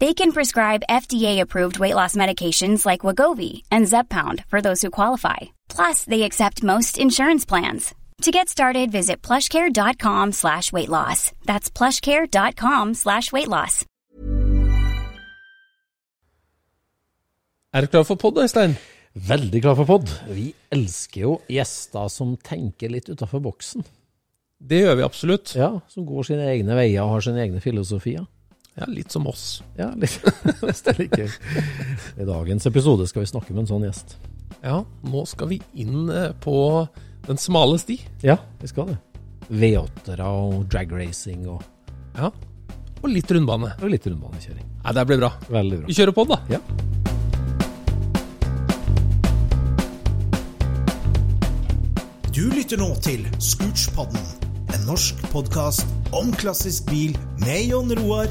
They can prescribe FDA-approved weight loss medications like Wagovi and Zepbound for those who qualify. Plus, they accept most insurance plans. To get started, visit plushcare.com slash weight loss. That's plushcare.com slash weight loss. Er du klar for podd, Øystein? Veldig klar for pod. Vi elsker jo gjester som tenker litt utafor boksen. Det gjør vi absolutt. Ja, Som går sine egne veier og har sine egne filosofier. Ja, litt som oss. Ja, litt. Hvis det er litt gøy. I dagens episode skal vi snakke med en sånn gjest. Ja, nå skal vi inn eh, på den smale sti. Ja, vi skal det. V8-ere og dragracing og, Ja. Og litt rundbane. og litt rundbanekjøring. Nei, det blir bra. Veldig bra. Vi kjører på, da. Ja. Du lytter nå til Scootspodden, en norsk podkast om klassisk bil med Jon Roar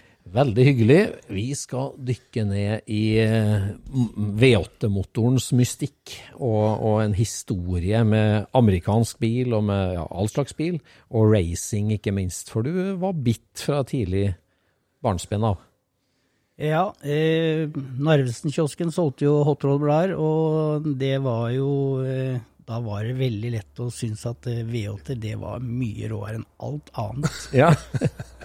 Veldig hyggelig. Vi skal dykke ned i eh, m- V8-motorens mystikk og, og en historie med amerikansk bil og med ja, all slags bil, og racing ikke minst, for du var bitt fra tidlig barnsben av. Ja, eh, Narvesen-kiosken solgte jo hotrollblader, og det var jo eh, Da var det veldig lett å synes at eh, V8 det var mye råere enn alt annet. Ja.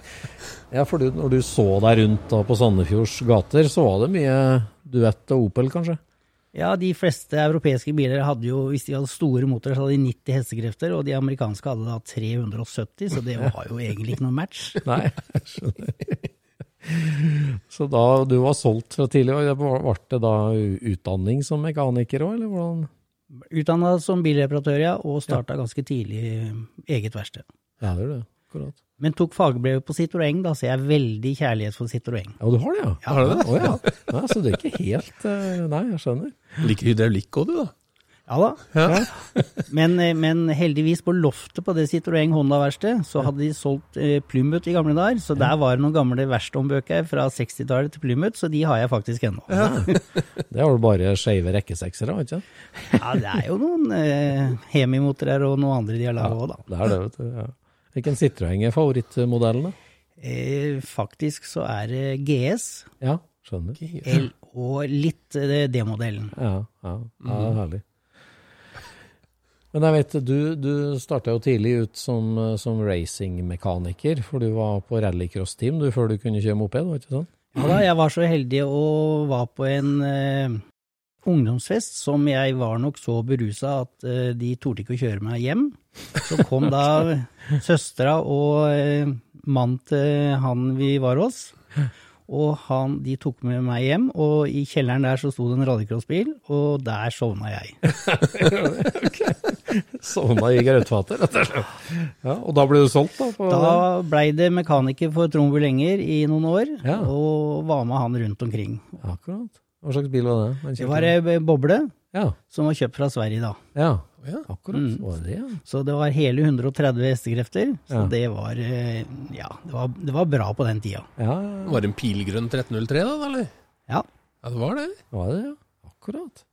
ja, for du, når du så deg rundt da på Sandefjords gater, så var det mye duett og Opel, kanskje? Ja, de fleste europeiske biler hadde jo, hvis de hadde store motorer, så hadde de 90 hestekrefter, og de amerikanske hadde da 370, så det var jo egentlig ikke noe match. Nei, skjønner. Så da du var solgt fra tidlig, og det var var det da u- utdanning som mekaniker òg, eller hvordan? Utdanna som bilreparatør, ja, og starta ganske tidlig eh, eget verksted. Ja, det er det. Akkurat. Men tok fagbrev på Citroën, da, så jeg har veldig kjærlighet for Citroën. Ja, du har det, ja? Ja. Har du det? Å, ja. ja. Så det er ikke helt eh, Nei, jeg skjønner. Liker hydraulikk òg, du, da. Ja da. men, eh, men heldigvis, på loftet på det Citroën Honda-verkstedet, så hadde de solgt eh, Plymouth i gamle dager. Så der var det noen gamle verkstedhåndbøker fra 60-tallet til Plymouth, så de har jeg faktisk ennå. Ja. Det har du bare skeive rekkeseksere, har du ikke? det er jo noen eh, Hemi-motorer og noen andre de har laga òg, da. Det er det, vet du. Ja. Hvilken Citroën er favorittmodellen, da? Eh, faktisk så er det GS Ja, skjønner. Eh, L og litt eh, D-modellen. Ja, ja, ja det er herlig. Men jeg vet, du, du starta jo tidlig ut som, som racingmekaniker, for du var på rallycross-team du, før du kunne kjøre moped, var det ikke sånn? Ja da, jeg var så heldig og var på en eh, ungdomsfest som jeg var nok så berusa at eh, de torde ikke å kjøre meg hjem. Så kom da søstera og eh, mannen til han vi var hos, og han, de tok med meg hjem, og i kjelleren der så sto det en rallycrossbil, og der sovna jeg. Sovna i grøtfatet, rett og slett. Ja, og da ble du solgt, da? På, Da blei det mekaniker for Trombu lenger i noen år, Ja. og var med han rundt omkring. Akkurat. Hva slags bil var det? Det var ei boble, Ja, som var kjøpt fra Sverige da. ja. Mm. Ja. Akkurat. Var det det, ja? Så det var hele 130 hestekrefter. Så Ja. det var eh, Ja, det var, det var bra på den tida. Ja, Var det en pilgrønn 1303 da, eller? Ja. Ja, det var det. var det det? Ja. Akkurat.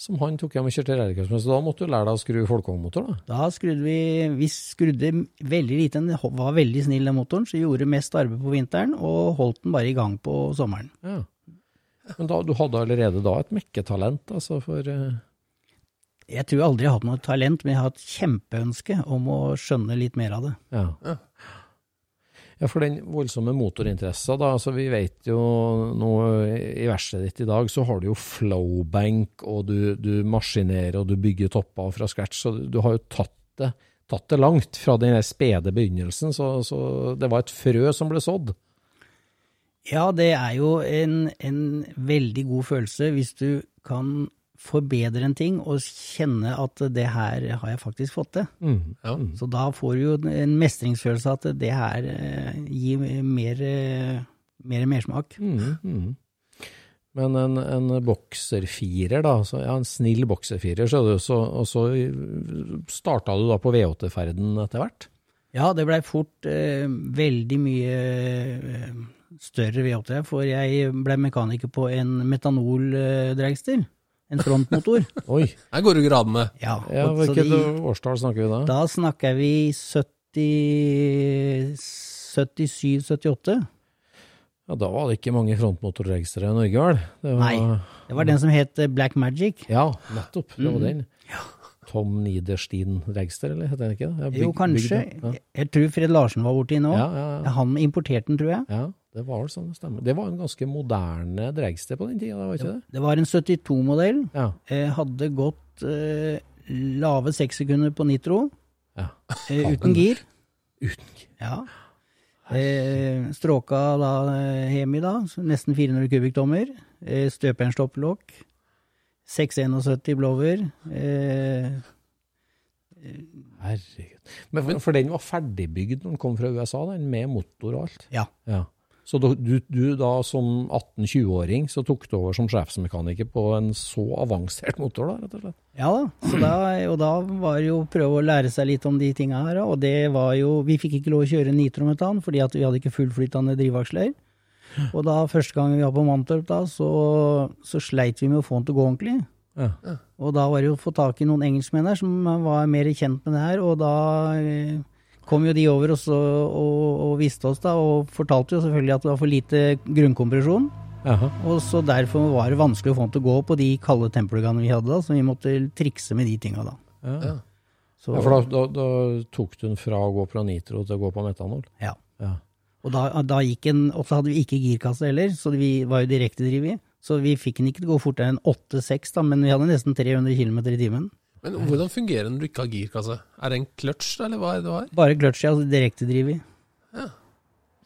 Som han tok hjem og kjørte rallycross med, så da måtte du lære deg å skru folkevognmotor, da? Da skrudde vi Vi skrudde veldig lite. Den ho- var veldig snill, den motoren, så gjorde mest arbeid på vinteren og holdt den bare i gang på sommeren. Ja. Men da, du hadde allerede da et mekketalent, altså, for eh, Jeg tror aldri jeg har hatt noe talent, men jeg har hatt kjempeønske om å skjønne litt mer av det. Ja. Ja, for den voldsomme motorinteressa, da. Altså, vi vet jo nå i verkstedet ditt i dag, så har du jo flowbank, og du, du maskinerer og du bygger topper fra scratch. Så du har jo tatt det, tatt det langt fra den der spede begynnelsen. Så, så det var et frø som ble sådd. Ja, det er jo en, en veldig god følelse hvis du kan forbedre en ting og kjenne at det her har jeg faktisk fått til. Mm. Ja. Så da får du jo en mestringsfølelse at det her eh, gir mer, eh, mer mersmak. Mm, Men en, en bokserfirer, da, så, ja, en snill bokserfirer, så, så, og så starta du da på V8-ferden etter hvert? Ja, det blei fort eh, veldig mye eh, større V8, for jeg blei mekaniker på en metanoldragster. En frontmotor. Oi! Her går du gradene. Ja, Ja, og- så Hvilket det- årstall snakker vi da? Da snakker vi 70 77-78. Ja, Da var det ikke mange frontmotorregistre i Norge, vel? Det var, Nei. Det var den som het eh, Black Magic. Ja, nettopp. Det var Mm. den. Tom Niederstein-register, eller heter den ikke det? Ja, Jo, bygd- kanskje. bygd, ja. Jeg- Jeg tror Fred Larsen var borti nå. Ja, ja, ja. Han importerte den, tror jeg. ja, det var vel sånn det stemmer. Det var en ganske moderne dragster på den tida, var ikke det? Det var en 72-modell. Ja. Eh, Hadde gått eh, lave seks sekunder på nitro, ja. eh, uten gir. Uten Ja. Eh, Stråka da, eh, Hemi, da. så Nesten 400 kubikktommer. Eh, Støpjernstoppelokk. 671 blower. Eh, Herregud. Men for, for den var ferdigbygd når den kom fra USA, den, med motor og alt? ja. Ja. Så du, du, du da som 18-20-åring så tok du over som sjefsmekaniker på en så avansert motor, da, rett og slett? Ja da, så da, og da var det jo å prøve å lære seg litt om de tinga her, og det var jo Vi fikk ikke lov å kjøre nitrometan fordi at vi hadde ikke fullflytende drivaksler. Og da første gang vi var på Mantorp, da, så, så sleit vi med å få den til å gå ordentlig. Ja. Og da var det jo å få tak i noen engelskmenn her som var mer kjent med det her, og da eh, kom jo de over oss og, og, og viste oss da, og fortalte jo selvfølgelig at det var for lite grunnkompresjon. Jaha. Og så derfor var det vanskelig å få den til å gå på de kalde tempelgangene vi hadde da, så vi måtte trikse med de tinga da. Ja. Så, Ja, for da, da, da tok du den fra å gå på nitro til å gå på metanol? ja. Ja. Og da, da gikk den, og så hadde vi ikke girkasse heller, så vi var jo direktedriv i. Så vi fikk den ikke til å gå fortere enn 8-6 da, men vi hadde nesten 300 km i timen. Men hvordan fungerer den når du ikke har girkasse? altså? Er det en clutch, eller hva er det det var? Bare kløtsj, altså direktedriv i.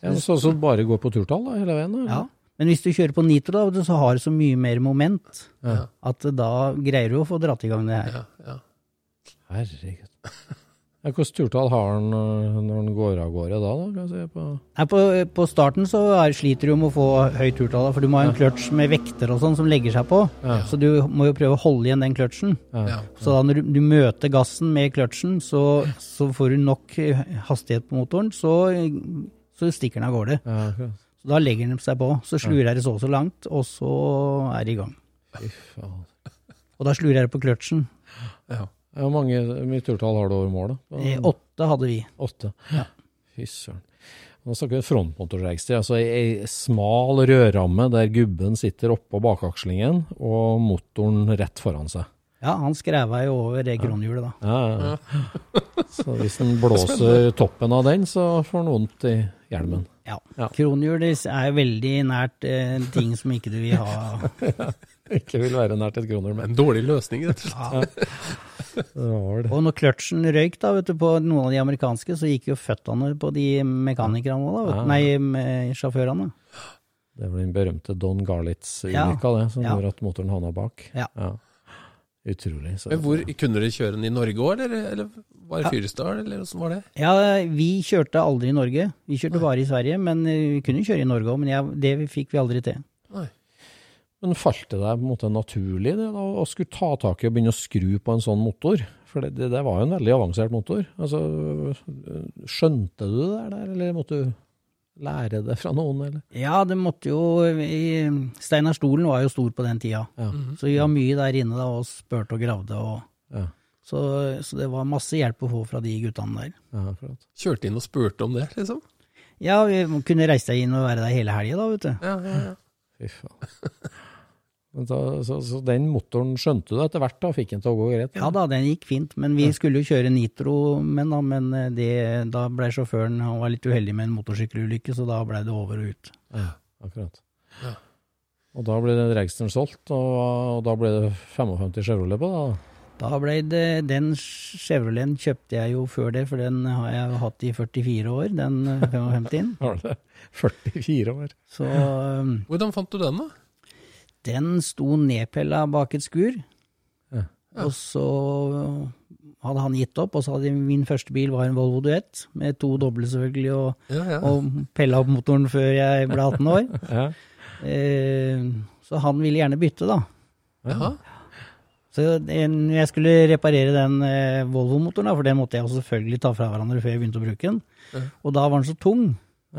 Ja, så, så bare gå på turtall da, hele veien? da, eller? Ja. Men hvis du kjører på nitro, da, vet du, så har du så mye mer moment Ja. at da greier du å få dratt i gang det her. Ja, ja. Herregud. Ja, Hvilket turtall har han øh, når han går av gårde da? da kan jeg si, på... Nei, på, på starten så er, sliter du jo med å få høyt turtall, da, for du må ha en kløtsj med vekter og sånn som legger seg på. Så du må jo prøve å holde igjen den kløtsjen. Ja. Så da når du, du møter gassen med kløtsjen, så, så får du nok eh, hastighet på motoren, så, så stikker den av gårde. Ja, akkurat. Så da legger den seg på. Så slurer det så og så langt, og så er det i gang. Fy faen. Og da slurer det på kløtsjen. Ja, Hvor mange hvor mye turtall har du over mål? da? Eh, Åtte hadde vi. Åtte? Fy søren. Nå snakker vi frontmotorregister, altså ei ei smal rødramme der gubben sitter oppå bakakslingen og motoren rett foran seg. Ja, han skreva jo over det kronhjulet, da. Ja, ja, ja. Så hvis den blåser toppen av den, så får den vondt i hjelmen. Ja. Ja. Kronhjul det er jo veldig nært eh, ting som ikke du vil ha. Ikke vil være nært et kroner, men En dårlig løsning, rett og slett. det var det. Og når kløtsjen røyk da, vet du, på noen av de amerikanske, så gikk jo føttene på de mekanikerne òg, da. Vet, Ah. du. nei, med sjåførene. Det var den berømte Don Garlitz-ulykka, det, som Ja. gjorde at motoren havna bak. Ja. Utrolig. Så. Men hvor kunne dere kjøre den i Norge òg, eller, eller var det Fyresdal, eller åssen var det? Ja, vi kjørte aldri i Norge. Vi kjørte bare i Sverige, men eh, vi kunne kjøre i Norge òg, men jeg, det fikk vi aldri til. Nei. Men falt det deg på en måte naturlig det, da, å skulle ta tak i og begynne å skru på en sånn motor? For det, det, det var jo en veldig avansert motor. Altså, skjønte du det der, eller måtte du lære det fra noen? Eller? Ja, det måtte jo i- Steinar Stolen var jo stor på den tida, Ja. så vi var mye der inne da og spurte og gravde. Og, Ja. så, så det var masse hjelp å få fra de guttene der. Ja, akkurat. Kjørte inn og spurte om det, liksom. Ja, vi kunne reise deg inn og være der hele helga, da, vet du. Ja, ja, ja. Fy faen. Men Da, så, så den motoren skjønte du etter hvert, da? Fikk den til å gå greit? Ja da, den gikk fint, men vi skulle jo kjøre nitro, men da, men eh, det, da ble sjåføren han var litt uheldig med en motorsykkelulykke, så da ble det over og ut. Ja, akkurat. Og da ble den Dragsteren solgt, og, og da ble det 55 Chevrolet på det? da? Da ble det, Den Chevroleten kjøpte jeg jo før det, for den har jeg hatt i 44 år, den 55-en. Var det 44 år? Så øhm, Hvordan fant du den, da? den sto nedpella bak et skur. Ja. Og så hadde han gitt opp, og så hadde min første bil var en Volvo Duett, med to doble selvfølgelig, og, Ja, ja. og pella opp motoren før jeg ble 18 år. Ja. Eh, Så han ville gjerne bytte, da. Jaha. Så en- jeg skulle reparere den eh, Volvo-motoren, da, for den måtte jeg jo selvfølgelig ta fra hverandre før jeg begynte å bruke den. Og da var den så tung,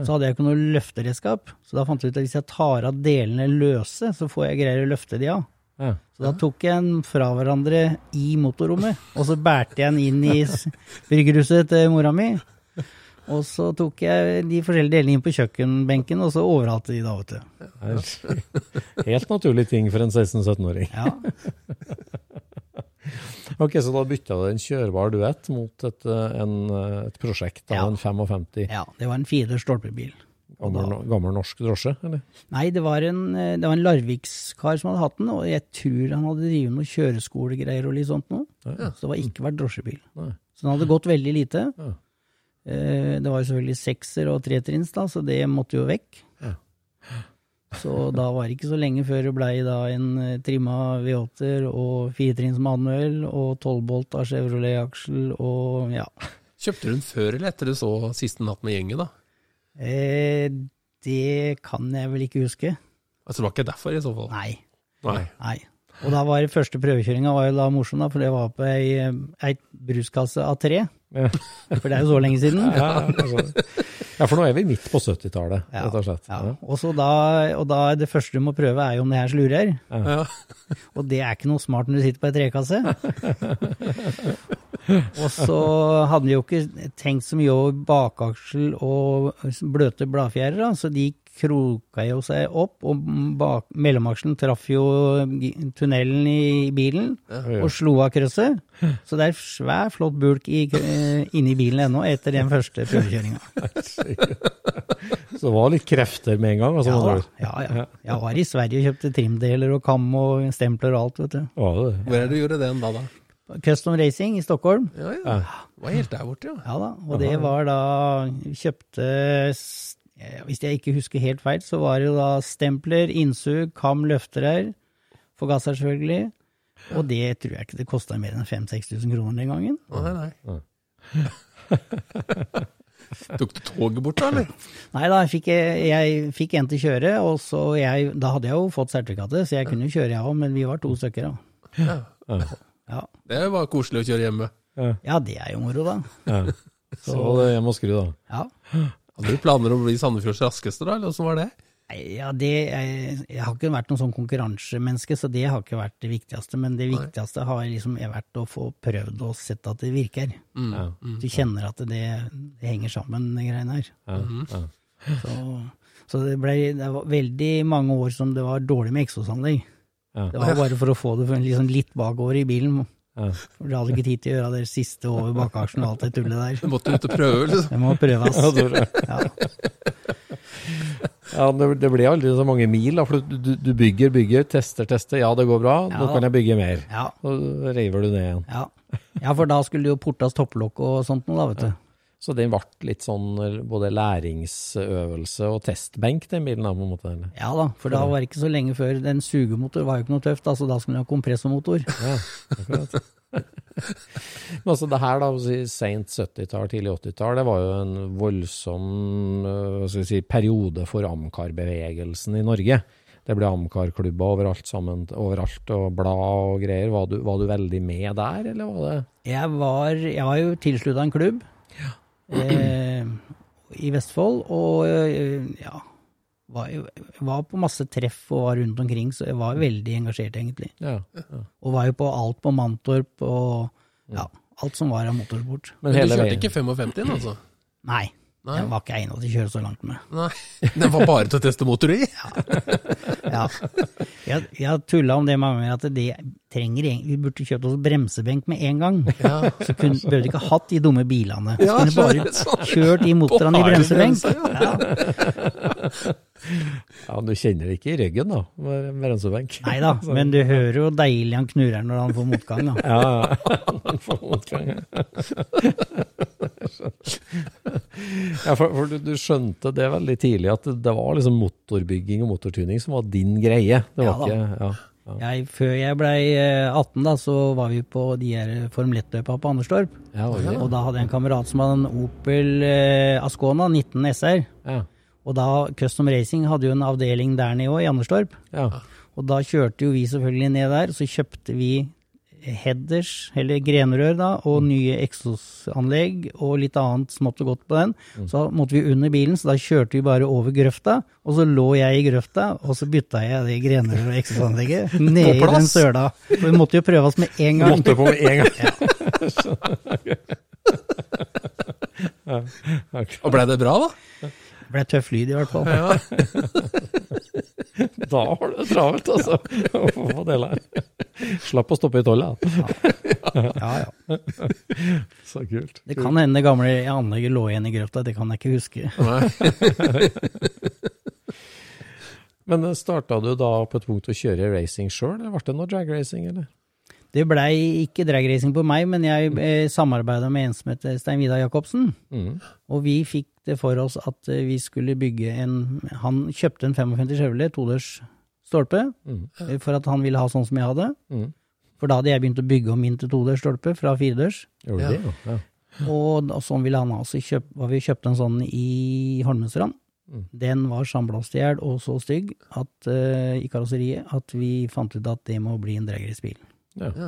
så hadde jeg ikke noe løfteredskap. Så da fant jeg ut at hvis jeg tar av delene løse, så får jeg greier å løfte de av. Ja. Så da tok jeg den fra hverandre i motorrommet, og så bærte jeg den inn i s- bryggerhuset til mora mi. Og så tok jeg de forskjellige delene inn på kjøkkenbenken, og så overhalte de da, vet du. Her- Helt naturlig ting for en 16-17-åring. Ja. Ok, Så da bytta du en kjørbar duett mot et, eh, en, eh, et prosjekt av Ja. en 55 Ja, det var en firedørs stolpebil. gammel, no- gammel norsk drosje? eller? Nei, det var en, eh, det var en Larvikskar som hadde hatt den, og jeg tror han hadde drevet noe kjøreskolegreier og litt sånt noe. Så det var ikke vært drosjebil. Nei. Så den hadde gått veldig lite. Ja. Eh, Det var jo selvfølgelig sekser og tretrinns, da, så det måtte jo vekk. Ja. Så da var det ikke så lenge før det blei da en eh, trimma V8-er og firetrinns manuell og 12 bolt av Chevrolet-aksel og ja. Kjøpte du den før eller etter du så Siste natt med gjengen, da? Eh, Det kan jeg vel ikke huske. Altså, det var ikke derfor, i så fall? Nei. Nei. Nei. Og da var det første prøvekjøringa var jo da morsom, da, for det var på ei, eh, ei bruskasse av tre. Ja. For det er jo så lenge siden. Ja, altså. ja, for nå er vi midt på 70-tallet, Ja. rett og slett. Ja. Og, så da, og da det første du må prøve, er jo om det her slurer. Ja. Og det er ikke noe smart når du sitter på ei trekasse. og så hadde de jo ikke tenkt så mye over bakaksel og bløte bladfjærer, da, så de kroka jo seg opp, og bak, mellomaksjen traff jo gi- tunnelen i bilen og slo av krøsset. Så det er svær, flott bulk i, krø- eh, inni bilen ennå etter den første prøvekjøringa. Så det var litt krefter med en gang? Altså, Ja, ja, da. ja, ja. Jeg var i Sverige og kjøpte trimdeler og kam og stempler og alt, vet du. Var det det? Hvor er det du gjorde den da, da? Custom Racing i Stockholm. Ja, ja. Det var helt der borte, ja. Ja da, og det var da vi Kjøpte s- eh, Hvis jeg ikke husker helt feil, så var det jo da stempler, innsug, kam, løfterer. Forgasser, selvfølgelig. Og det tror jeg ikke det kosta mer enn 5000-6000 kroner den gangen. Nei, nei. Tok du toget bort, da, eller? Nei da, jeg fikk, jeg fikk en til å kjøre, og så jeg, da hadde jeg jo fått sertifikatet, så jeg kunne jo kjøre jeg òg, men vi var to stykker da. Ja. Det var koselig å kjøre hjemme. ja, det er jo moro, da. Så var det hjem og skru, da. Ja. Hadde du planer om å bli Sandefjords raskeste, da, eller åssen var det? Nei, Ja, det, jeg, jeg har ikke vært noen sånn konkurransemenneske, så det har ikke vært det viktigste. Men det viktigste har liksom vært å få prøvd og sett at det virker. Mm. Du kjenner at det, det henger sammen, de greiene her. Mm. Så, så det ble det var veldig mange år som det var dårlig med eksosanlegg. Ja. Det var bare for å få det liksom litt bakover i bilen. Ja. For du hadde ikke tid til å gjøre det siste over bakaksjen og alt det tullet der. Du måtte ut og prøve, liksom. Det må prøves. Ja, det var- Ja. Ja, det, det blir aldri så mange mil, da, for du, du- du bygger, bygger, tester, tester. Ja, det går bra, Ja, nå da. kan jeg bygge mer. ja. Så reiver du ned igjen. Ja. ja, for da skulle det jo portas topplokk og sånt noe, da, vet du. Så den ble litt sånn eh, både læringsøvelse og testbenk, den bilen da, på en måte. Eller? Ja da, for da var det ikke så lenge før den sugemotor var jo ikke noe tøft, altså, da, så da skulle den ha kompressormotor. Men altså det her da, si, sent 70-tall, tidlig 80-tall, det var jo en voldsom eh, hva skal vi si, periode for Amcar-bevegelsen i Norge. det ble Amcar-klubber overalt, sammen, overalt, og blad og greier. Var du, var du veldig med der, eller var det Jeg var, jeg var jo tilslutta en klubb eh, i Vestfold, og eh, ja var, jo, var på masse treff og var rundt omkring, så jeg var veldig engasjert, egentlig. ja. Og var jo på alt på Mantorp og ja, alt som var av motorsport. Men Men du hele kjørte veien. ikke 55, altså? Nei, Nei. jeg var ikke egnet til å kjøre så langt med. Nei. Den var bare til å teste motor i? Ja. Jeg, jeg tulla om det mange ganger, at det trenger egentlig- vi burde kjøpt oss bremsebenk med en gang. Så kunne, behøvde vi ikke hatt de dumme bilene. Så Ja, kunne bare sånn. kjørt de motorene i Bare bremsebenk. bremse, Ja. Ja, du kjenner det ikke i ryggen, da, med med rensebenk. Nei da, men du hører jo deilig han knurrer når han får motgang, da. Ja, ja. ja for, for du, du skjønte det veldig tidlig, at det, det var liksom motorbygging og motortuning som var din greie. Det var Ja da. ikke ja. Jeg, før jeg blei eh, 18, da, så var vi på de her eh, Formel 1-løpa på Anderstorp. Ja, var det det? Og da hadde jeg en kamerat som hadde en Opel eh, Ascona 19 SR. ja. Og da Custom Racing hadde jo en avdeling der nede òg, i Anderstorp. ja. Og da kjørte jo vi selvfølgelig ned der, så kjøpte vi headers, eller grenrør da, Mm. og nye eksosanlegg og litt annet smått og godt på den. Mm. Så måtte vi under bilen, så da kjørte vi bare over grøfta, og så lå jeg i grøfta, og så bytta jeg det grenrør og eksosanlegget ned i den plass? søla. For vi måtte jo prøve oss med en gang. Måtte på med en gang. Og blei det bra, da? Det ble tøff lyd i hvert fall. Da har du det travelt, altså. Å få dele her. Slapp å stoppe i tollet. da. Ja, ja. Så kult. Det kan hende det gamle anlegget lå igjen i grøfta, det kan jeg ikke huske. Men starta du da på et punkt å kjøre racing sjøl, eller ble det noe drag racing, eller? Det blei ikke dragracing på meg, men jeg eh, samarbeida med en som heter Stein Vidar Jacobsen. Og vi fikk det for oss at eh, vi skulle bygge en Han kjøpte en 55 Chevrolet, todørs stolpe, eh, for at han ville ha sånn som jeg hadde. Mm. For da hadde jeg begynt å bygge om min til todørs stolpe, fra firedørs. Gjorde Ja. du det? Ja. Og, da- sånn ville han ha. Så kjøp, var vi kjøpte en sånn i Holmestrand. Den var sandblåst i hjel og så stygg at, eh, i karosseriet at vi fant ut at det må bli en dragracebil. Ja. Ja.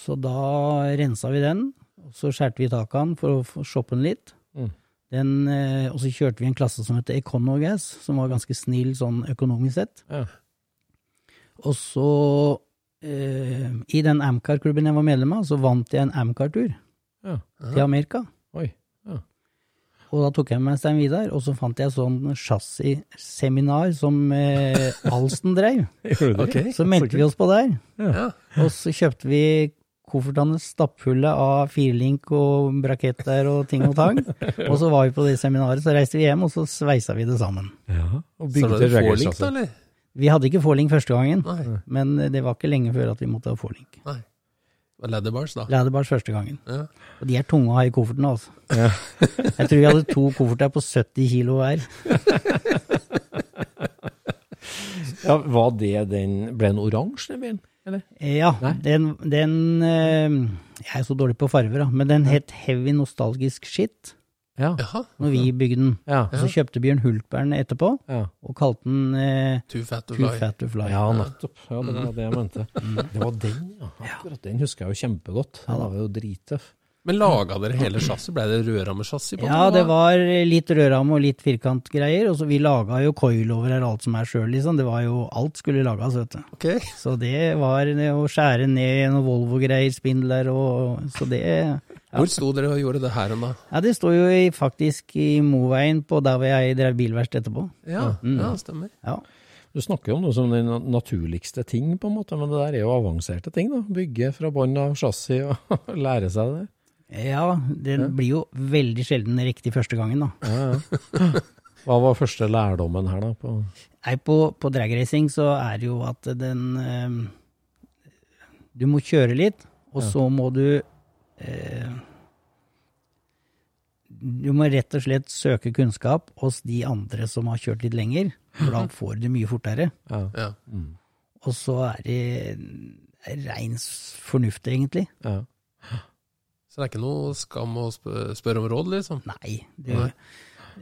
Så da rensa vi den, og så skjærte vi taket av den for å få shoppe den litt. Mm. Den, eh, og så kjørte vi en klasse som heter Econogas, som var ganske snill sånn økonomisk sett. Ja. Og så, eh, i den Amcar-klubben jeg var medlem av, så vant jeg en Amcar-tur Ja. til Amerika. Oi. Og da tok jeg med meg Stein Vidar, og så fant jeg sånn chassisseminar som eh, Alsten drev. Gjorde du det? Så meldte vi oss på der, Ja. og så kjøpte vi koffertene stappfulle av firelink og braketter og ting og tang. Og så var vi på det seminaret, så reiste vi hjem, og så sveisa vi det sammen. Ja. Og Så bygde ble det drag forlik, race, da, eller? Vi hadde ikke forlink første gangen, Nei. men det var ikke lenge før at vi måtte ha forlink. Nei. Det var Laddybars, da. Læderbars første gangen. Ja. Og de er tunge å ha i koffertene, altså. Jeg tror vi hadde to kofferter på 70 kilo hver. Ja, var det den Ble den oransje, den bilen? Eller? Eh, Ja, Nei. den, den eh, Jeg er så dårlig på farver, da, men den het Heavy Nostalgisk Shit Ja. Jaha. når vi bygde den. Ja. Og så kjøpte Bjørn Hultberg den etterpå, Ja. og kalte den eh, Too fat to Too fly. Fat to Fly. ja, nettopp. Ja, det var det jeg mente. Det var den, ja. Akkurat den husker jeg jo kjempegodt. Den var jo drittøff. Men laga dere hele chassis? Blei det rødrammechassis? på den, Ja, da? det var litt rødramme og litt firkantgreier, og så vi laga jo coilover her og alt som er sjøl, liksom. Det var jo Alt skulle lages, vet du. Ok. Så det var det å skjære ned noen Volvo-greier, spindler og Så det Hvor sto dere og gjorde det her hen, da? Ja, det står jo i, faktisk i Moveien på der hvor jeg drev bilverksted etterpå. Ja, ja Mm. stemmer. Ja. Du snakker jo om noe som den naturligste ting, på en måte, men det der er jo avanserte ting. da. Bygge fra bånn av chassis og lære seg det. ja, det blir jo veldig sjelden riktig første gangen, da. Hva var første lærdommen her, da? På Nei, på, på dragracing så er det jo at den eh, Du må kjøre litt, og så må du eh, Du må rett og slett søke kunnskap hos de andre som har kjørt litt lenger, for da får du det mye fortere. Ja. Og så er det rein s- fornuft, egentlig. ja. Så det er ikke noe skam å sp- spørre om råd, liksom? Nei, det,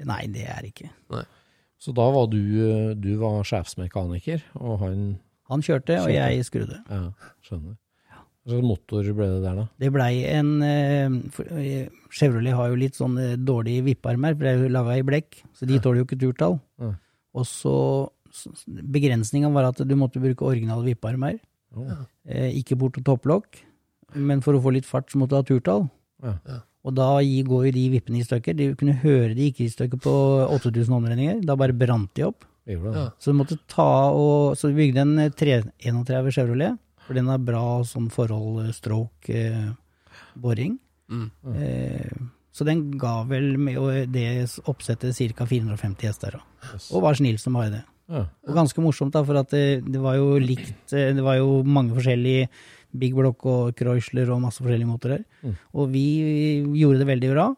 nei, det er det ikke. Så da var du, du var sjefsmekaniker, og han Han kjørte, og Kjørte. jeg skrudde. Ja, skjønner. Hva slags motor ble det der, da? Det blei en eh, for- eh, Chevrolet har jo litt sånn eh, dårlige vippearmer, for det er jo laga i blekk, så de tåler jo ikke turtall. Ja. Og så s- Begrensninga var at du måtte bruke originale vippearmer, Å, eh, ikke bort til topplokk, men for å få litt fart så måtte du ha turtall. Ja. Og da gi- går jo de vippene i stykker. De kunne høre de gikk i stykker på 8000 omdreininger. Da bare brant de opp. vi gjorde det. Så du måtte ta og Så vi bygde en eh, 331 Chevrolet, for den har bra sånn forhold eh, stroke eh, boring. Eh, så den ga vel med å- det oppsettet ca. 450 hester. Da. Og var snill som bare det. Ja. Og ganske morsomt, da, for at det, det var jo likt eh, Det var jo mange forskjellige Big Block og Chrysler og masse forskjellige motorer. Og vi gjorde det veldig bra.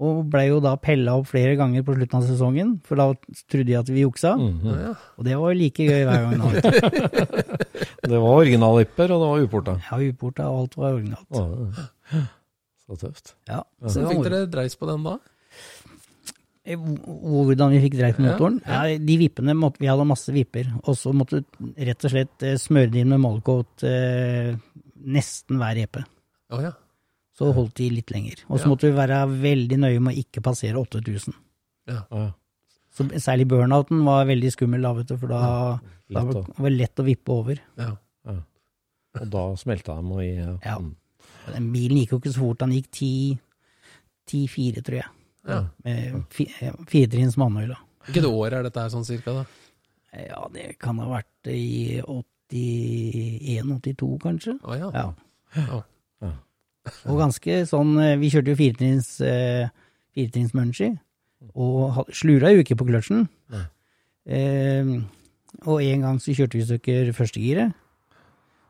Og blei jo da pella opp flere ganger på slutten av sesongen, for da trodde jeg at vi juksa. Mm. Mm-hmm. Og det var jo like gøy hver gang. da. Det var originalvipper, og det var uporta. Ja, uporta og alt var originalt. Å, ja. Så tøft. Ja, Så det var fikk moro. dere dreis på den da? Eh, Hvordan vi fikk dreid på motoren? Ja, de vippene måtte, Vi hadde masse vipper, og så måtte du rett og slett eh, smøre det inn med Molcoat eh, nesten hver epe. Å ja. Så holdt de litt lenger. Og så Ja. måtte vi være veldig nøye med å ikke passere 8000. Ja. Så særlig burnouten var veldig skummel, da, vet du, for da, da Lett var å- det var lett å vippe over. ja. Og da smelta de og i Mm. Ja. Den bilen gikk jo ikke så fort, han gikk 10 10-4, tror jeg. Ja. Med fi, eh, firetrinns mannhjul. da. Hvilket år er dette her sånn cirka, da? Eh, Ja, det kan ha vært i 81-82, kanskje. Å ja. Ja. Ja. Og ganske sånn eh, Vi kjørte jo firetrinns eh, firetrinns Munchie, og ha- slura jo ikke på kløtsjen. Eh, og en gang så kjørte vi i stykker førstegiret.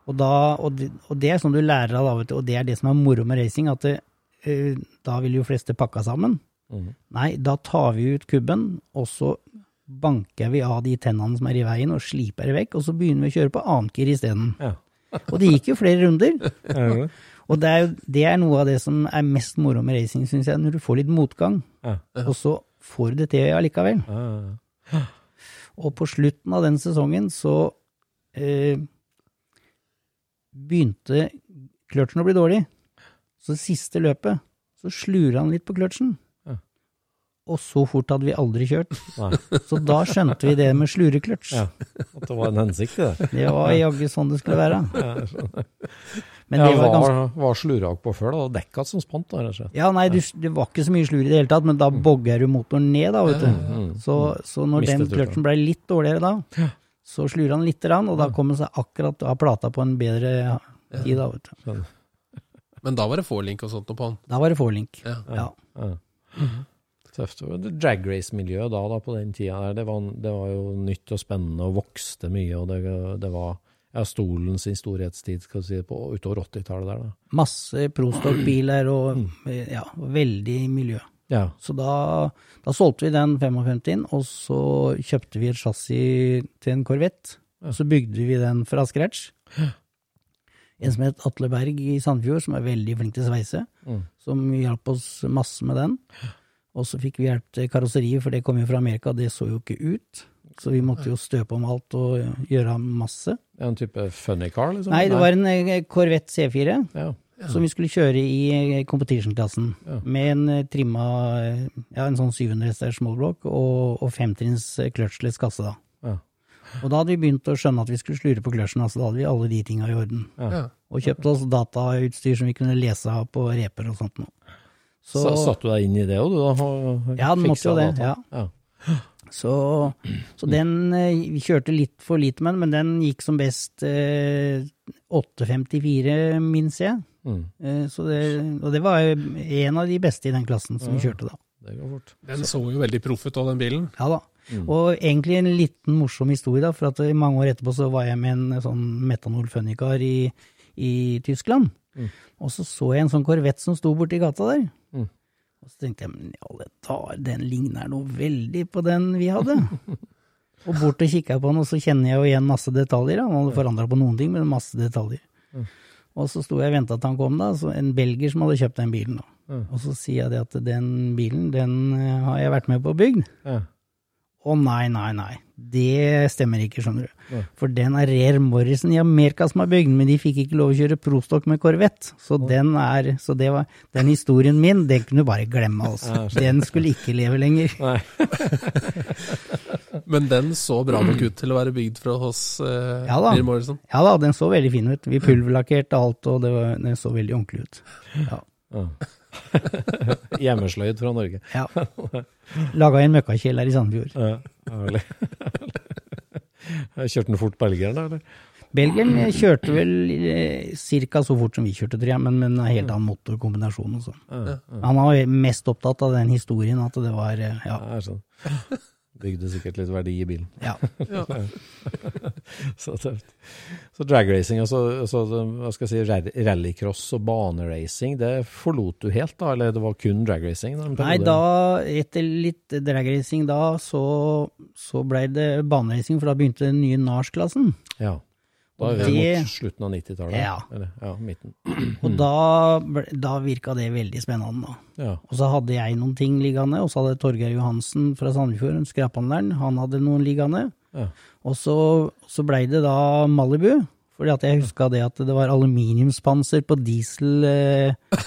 Og, da, og, det, og det er sånn du lærer av, da, vet du, og det er det som er moro med racing, at det, eh, da vil jo fleste pakka sammen. Nei, da tar vi ut kubben, og så banker vi av de tennene som er i veien, og sliper det vekk, og så begynner vi å kjøre på annet gir isteden. Ja. Og det gikk jo flere runder. Ja. Og det er, jo, det er noe av det som er mest moro med racing, syns jeg, når du får litt motgang, Ja. og så får du det til allikevel. Ja. Og på slutten av den sesongen så eh, begynte kløtsjen å bli dårlig. Så siste løpet, så slura han litt på kløtsjen. Ja. Og så fort hadde vi aldri kjørt. Nei. Så da skjønte vi det med slurekløtsj. Ja. At det var en hensikt i det. Det var jaggu sånn det skulle være. Men Ja, det var ganske var slurak på før, da. og Dekka som spant, da, rett og slett. Ja, nei, du, det var ikke så mye slur i det hele tatt, men da bogger du motoren ned, da, vet du. Så, så Mm, når Mistet den du den. kløtsjen ble litt dårligere da, så slur han lite grann, og da kom han seg akkurat av plata på en bedre tid, da, vet du. Men da var det forlink og sånt noe på den? Da var det forlink. Ja. Ja. Mhm. Tøft. Og det Drag race-miljøet da, da, på den tida der, det var, det var jo nytt og spennende og vokste mye, og det, det var ja, stolens sin storhetstid, skal vi si, på, utover 80-tallet der, da. Masse prostock-biler og Mm. eh, ja, veldig miljø. Ja. Så da, da solgte vi den 55-en, og så kjøpte vi et chassis til en Corvette. Og så bygde vi den fra scratch. En som het Atle Berg i Sandfjord, som er veldig flink til å sveise, som hjalp oss masse med den. Og så fikk vi hjelp til karosseriet, for det kom jo fra Amerika, det så jo ikke ut. Så vi måtte jo støpe om alt og gjøre masse. En type funny car, liksom? Nei, det var en eh, Corvette C4 Ja. som vi skulle kjøre i eh, competition-klassen. Med en eh, trimma eh, ja, en sånn 700 hester small block og, og femtrinns eh, clutchless kasse, da. Ja. Og da hadde vi begynt å skjønne at vi skulle slure på kløtsjen, altså da hadde vi alle de tinga i orden. Ja. Og kjøpte oss datautstyr som vi kunne lese av på reper og sånt noe. Så, satt du deg inn i det òg, du, da? og- og Ja, den måtte fiksa jo det, data? ja. ja. Så, så den eh, Vi kjørte litt for lite med den, men den gikk som best eh, 8.54, minnes jeg. Eh, så det, og det var jo en av de beste i den klassen som kjørte da. Det går fort. Den så jo veldig proff ut, av den bilen. Ja da. Og egentlig en liten morsom historie, da, for at i mange år etterpå så var jeg med en sånn metanol funnycar i, i Tyskland. Og så så jeg en sånn korvett som sto borti gata der. Og så tenkte jeg, men i alle dager, den ligner noe veldig på den vi hadde. og bort og kikka på den, og så kjenner jeg jo igjen masse detaljer. da. Han hadde forandra på noen ting, men masse detaljer. Og så sto jeg og venta til han kom, da, så en belger som hadde kjøpt den bilen. da. Og så sier jeg det at den bilen, den eh, har jeg vært med på å bygge. Ja. Å nei, nei, nei. Det stemmer ikke, skjønner du. For den er Rare Morrison i Amerika som har bygd den, men de fikk ikke lov å kjøre prostokk med korvett. Så, den, er, så det var, den historien min, den kunne du bare glemme, altså. Den skulle ikke leve lenger. Men den så bra nok ut til å være bygd fra hos eh, Ja da. Bill Morrison. Ja da, den så veldig fin ut. Vi pulverlakkerte alt, og det var, den så veldig ordentlig ut. Ja. Hjemmesløyd fra Norge. ja. Laga i en møkkakjeller i Sandefjord. Ja, ærlig. Kjørte den fort belgieren, da? eller? Belgien kjørte vel eh, cirka så fort som vi kjørte, tror jeg, men med en helt annen motorkombinasjon og sånn. Han var mest opptatt av den historien, at det var eh, Ja. Ja, sånn. Bygde sikkert litt verdi i bilen. ja. Så, tøft. så dragracing, altså, altså hva skal jeg si, rall- rallycross og baneracing, det forlot du helt, da? Eller det var kun dragracing? da, en Nei, periode? da, etter litt dragracing da, så, så blei det baneracing, for da begynte den nye NARS-klassen. Ja. Da er vi Det- mot slutten av 90-tallet. Ja. Eller, ja, midten. Og da, ble- da virka det veldig spennende, da. Ja. Og så hadde jeg noen ting liggende, og så hadde Torgeir Johansen fra Sandefjord, skraphandleren, han hadde noen liggende. Ja. Og så, så blei det da Malibu, fordi at jeg huska det at det var aluminiumspanser på diesel eh,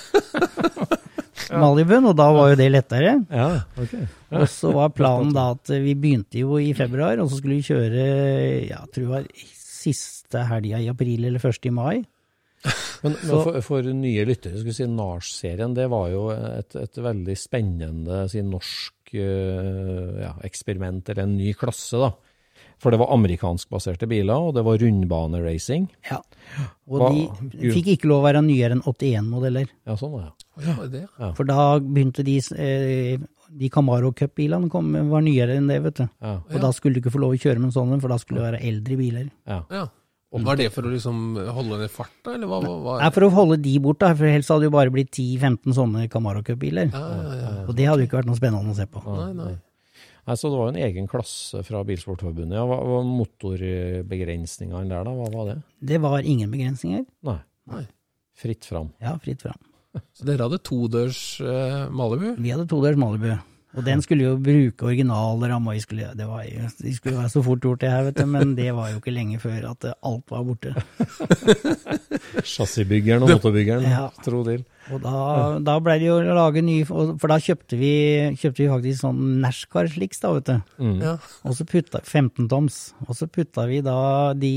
Malibuen, og da var jo det lettere. ja, ok. Og så var planen da at vi begynte jo i februar, og så skulle vi kjøre ja, jeg tror det var siste helga i april eller første i mai. Men, men for, for nye lyttere, skulle jeg si NARS-serien, det var jo et, et veldig spennende si, norsk eh, ja, eksperiment, eller en ny klasse, da. For det var amerikanskbaserte biler, og det var rundbaneracing. Ja. Og Hva- de fikk ikke lov å være nyere enn 81-modeller. Ja, sånn var det. Oi, var det det? Ja. For da begynte de eh, De Camaro Cup-bilene kom- var nyere enn det, vet du. Ja. Og da skulle du ikke få lov å kjøre med en sånn en, for da skulle det være eldre biler. Ja. Ja. Var det for å liksom holde ned farta, eller hva? hva, hva? Nei, for å holde de bort, da, for helst hadde det jo bare blitt 10-15 sånne Camaro Cup-biler. Ja, ja, ja. Og det hadde jo ikke vært noe spennende å se på. Nei, nei. Nei, så det var jo en egen klasse fra Bilsportforbundet. Ja, hva hva var motorbegrensningene der, da? Hva var det? Det var ingen begrensninger. Nei, nei. fritt fram. Ja, fritt fram. Så dere hadde todørs eh, Malibu? Vi hadde todørs Malibu. Og den skulle jo bruke originalramma. Vi skulle, det var, jo- de skulle være så fort gjort, det her, vet du. Men det var jo ikke lenge før at eh, alt var borte. Chassisbyggeren og motorbyggeren, Ja. tro til. Og da, da ble det jo å lage nye, og- for da kjøpte vi, kjøpte vi faktisk sånn Nashcar sliks da, vet du. Ja. Og så putta, 15 toms, og så putta vi da de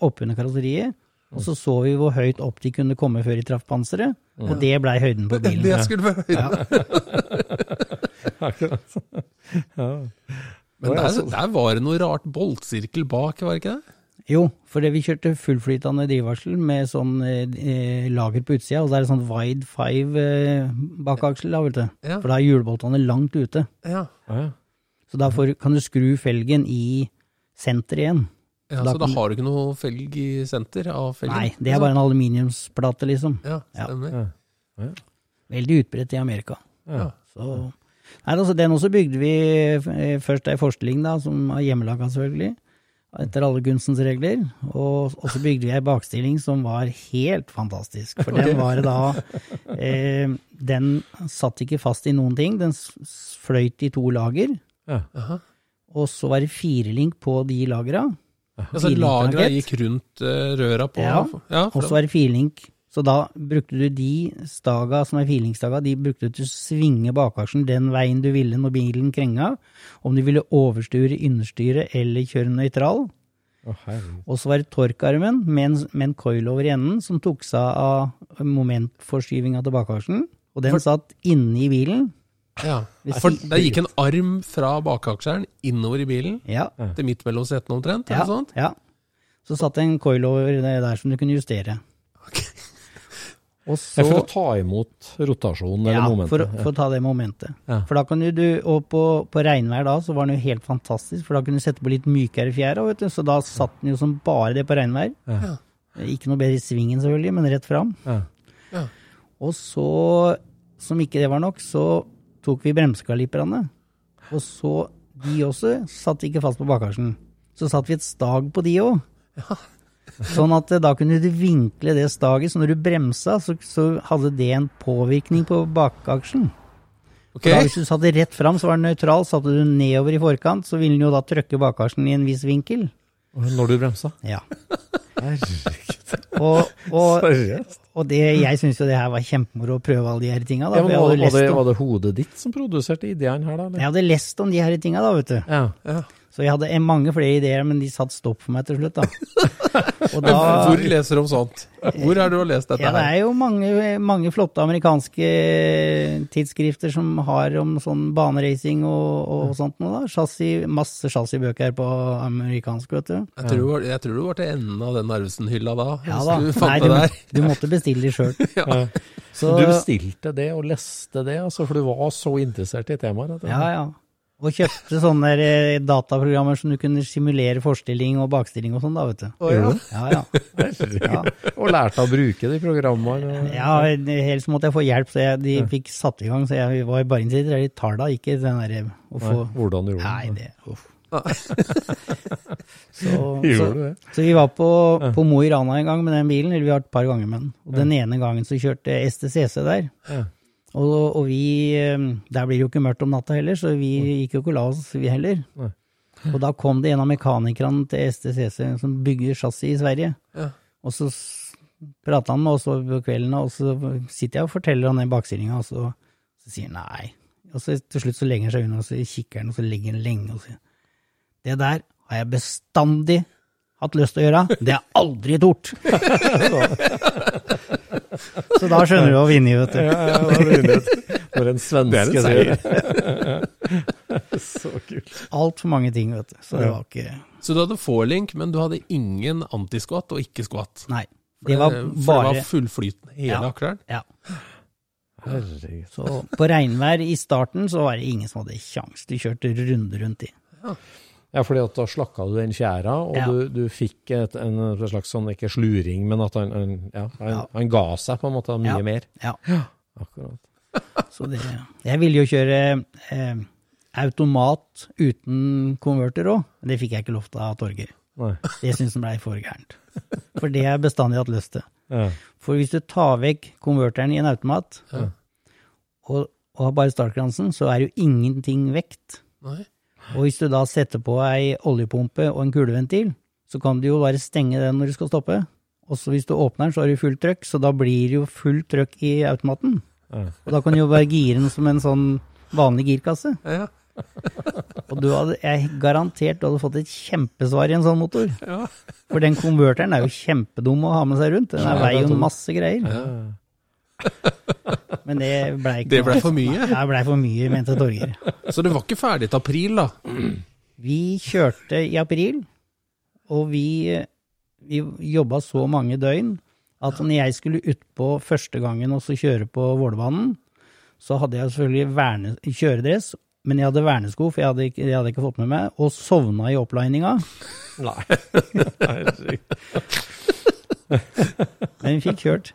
oppunder karosseriet, og så så vi hvor høyt opp de kunne komme før de traff panseret, og det blei høyden på bilen. Det skulle være Men altså. der, der var det noe rart boltsirkel bak, var det ikke det? Jo, for det vi kjørte fullflytende drivvarsel med sånn eh, eh, lager på utsida, og så er det sånn wide five eh, bakaksel da, vet du. Ja. For da er hjulboltene langt ute. Ja. Ja, ja. Så da får, kan du skru felgen i senter igjen. ja Da så da kom- har du ikke noe felg i senter av felgen? Nei, det er bare en aluminiumsplate, liksom. Ja, stemmer. Ja. Veldig utbredt i Amerika. Ja. Så. Nei, altså, den også bygde vi eh, først ei forstilling, da, som er hjemmelaga, selvfølgelig. Etter alle kunstens regler. Og og så bygde vi ei bakstilling som var helt fantastisk. For den var da eh, Den satt ikke fast i noen ting. Den s- s- fløyt i to lager. Ja. Og så var det firelink på de lagra. så lagra gikk rundt eh, røra på Ja, for og så er det firelink. Så da brukte du de staga som er firelinkstaga, de brukte du til å svinge bakaksjen den veien du ville når bilen krenga, om du ville overstyre innerstyret eller kjøre nøytral. Å, herregud. Og så var det torkarmen med en, med en coil over i enden som tok seg av momentforskyvinga til bakaksjen, og den satt inne i bilen. ja. For der gikk en arm fra bakaksjeren innover i bilen, Ja, til midt mellom setene omtrent? sånn? ja, Eller noe sånt? ja. Så satt det en coil over det der som du kunne justere. Og Ja, så for å ta imot rotasjonen eller momentet. For, å- for å ta det momentet. For da kan du- du, og på, på regnvær da, så var den jo helt fantastisk, for da kunne du sette på litt mykere fjær, også, vet du, så da satt den jo som bare det på regnvær. Ikke noe bedre i svingen selvfølgelig, men rett fram. Og så, som ikke det var nok, så tok vi bremsekaliperne, og så de også satt ikke fast på bakaksjen. Så satt vi et stag på de òg. Sånn at eh, da kunne du vinkle det staget, så når du bremsa, så, så hadde det en påvirkning på bakaksjen. Ok? For Da, hvis du satte rett fram, så var den nøytral. Satte du den nedover i forkant, så ville den jo da trøkke bagasjen i en viss vinkel. Når du bremsa? Ja. Og, og, Seriøst? og det, jeg syns jo det her var kjempemoro å prøve alle de her tinga. Da, Ja, for men jeg var, hadde var, lest det, om, var det hodet ditt som produserte ideen her, da? eller? jeg hadde lest om de her tinga, da, vet du. Ja. Så jeg hadde eh, mange flere ideer, men de satt stopp for meg til slutt, da. Og da Hvor leser du om sånt? Hvor er du har lest ja, dette det her? er jo mange, mange flotte amerikanske tidsskrifter som har om sånn baneracing og, og sånt noe, da. Chassis, masse chassisbøker på amerikansk, vet du. Jeg tror, du var- jeg tror du var til enden av den Narvesen-hylla da. Ja hvis da. Du fant Nei, det du, der. du måtte bestille de sjøl. Så du bestilte det og leste det, altså, for du var så interessert i temaet? at- Ja, ja. Og kjøpte sånne der, eh, dataprogrammer som du kunne simulere forstilling og bakstilling og sånn, da, vet du. Gjorde du? Ja, ja. ja. Og lærte å bruke de programmene? og- ja helst måtte jeg få hjelp, så jeg, de fikk satt i gang. Så jeg var bare interessert i talla, ikke den derre å Nei, få Hvordan du gjorde Nei, det uff. så, Gjorde du så, det? så vi var på, på Mo i Rana en gang med den bilen, eller vi har vært et par ganger med den. Og den ene gangen så kjørte STCC der. Og, og vi eh, Der blir det jo ikke mørkt om natta heller, så vi gikk jo ikke og la oss, vi heller. Og da kom det en av mekanikerne til STCC som bygger chassis i Sverige. Og så s- prater han med oss over kvelden, og så sitter jeg og forteller han den bakstillinga, og så, så sier han nei. Og så til slutt så legger han seg unna, og så kikker han, og så legger han lenge og sier Det der har jeg bestandig hatt lyst til å gjøre, det har jeg aldri tort. så da skjønner du hva vi er inne i, vet du. Ja, ja, da blir det- For en svenske Det er en sier. så kult. Altfor mange ting, vet du. Så det var ikke Så du hadde forlink, men du hadde ingen antiskvatt og ikke-skvatt. Nei. Det var Eh, for bare det var fullflytende hele Ja. akkeren. Ja. Herregud. Så på regnvær i starten så var det ingen som hadde kjangs. De kjørte runde rundt i. Ja, fordi at da slakka du den tjæra, og Ja. du, du fikk et, en slags sånn, ikke sluring, men at han, han, ja, han, Ja. han ga seg på en måte mye Ja. mer. Ja. Akkurat. Så det, jeg ville jo kjøre eh, automat uten konverter òg, men det fikk jeg ikke lov til av Torgeir. Nei. Det syns han blei for gærent. For det har jeg bestandig hatt lyst til. Ja. For hvis du tar vekk konverteren i en automat, og, og har bare startkransen, så er jo ingenting vekt. Nei. Og hvis du da setter på ei oljepumpe og en kuleventil, så kan du jo bare stenge den når du skal stoppe. Og så hvis du åpner den, så har du fullt trøkk, så da blir det jo fullt trøkk i automaten. Og da kan du jo bare gire den som en sånn vanlig girkasse. Ja, Og du hadde, jeg garantert du hadde fått et kjempesvar i en sånn motor. For den konverteren er jo kjempedum å ha med seg rundt. Den er- veier sånn. jo masse greier. Men det blei ikke Det noe- blei for mye. Nei, Det blei for mye, mente Torgeir. Så det var ikke ferdig til april, da. Vi kjørte i april, og vi, vi jobba så mange døgn at når jeg skulle utpå første gangen og så kjøre på Vålerbanen, så hadde jeg selvfølgelig verne, kjøredress, men jeg hadde vernesko, for jeg hadde, ikke- det hadde jeg ikke fått med meg, og sovna i opplininga. Men vi fikk kjørt.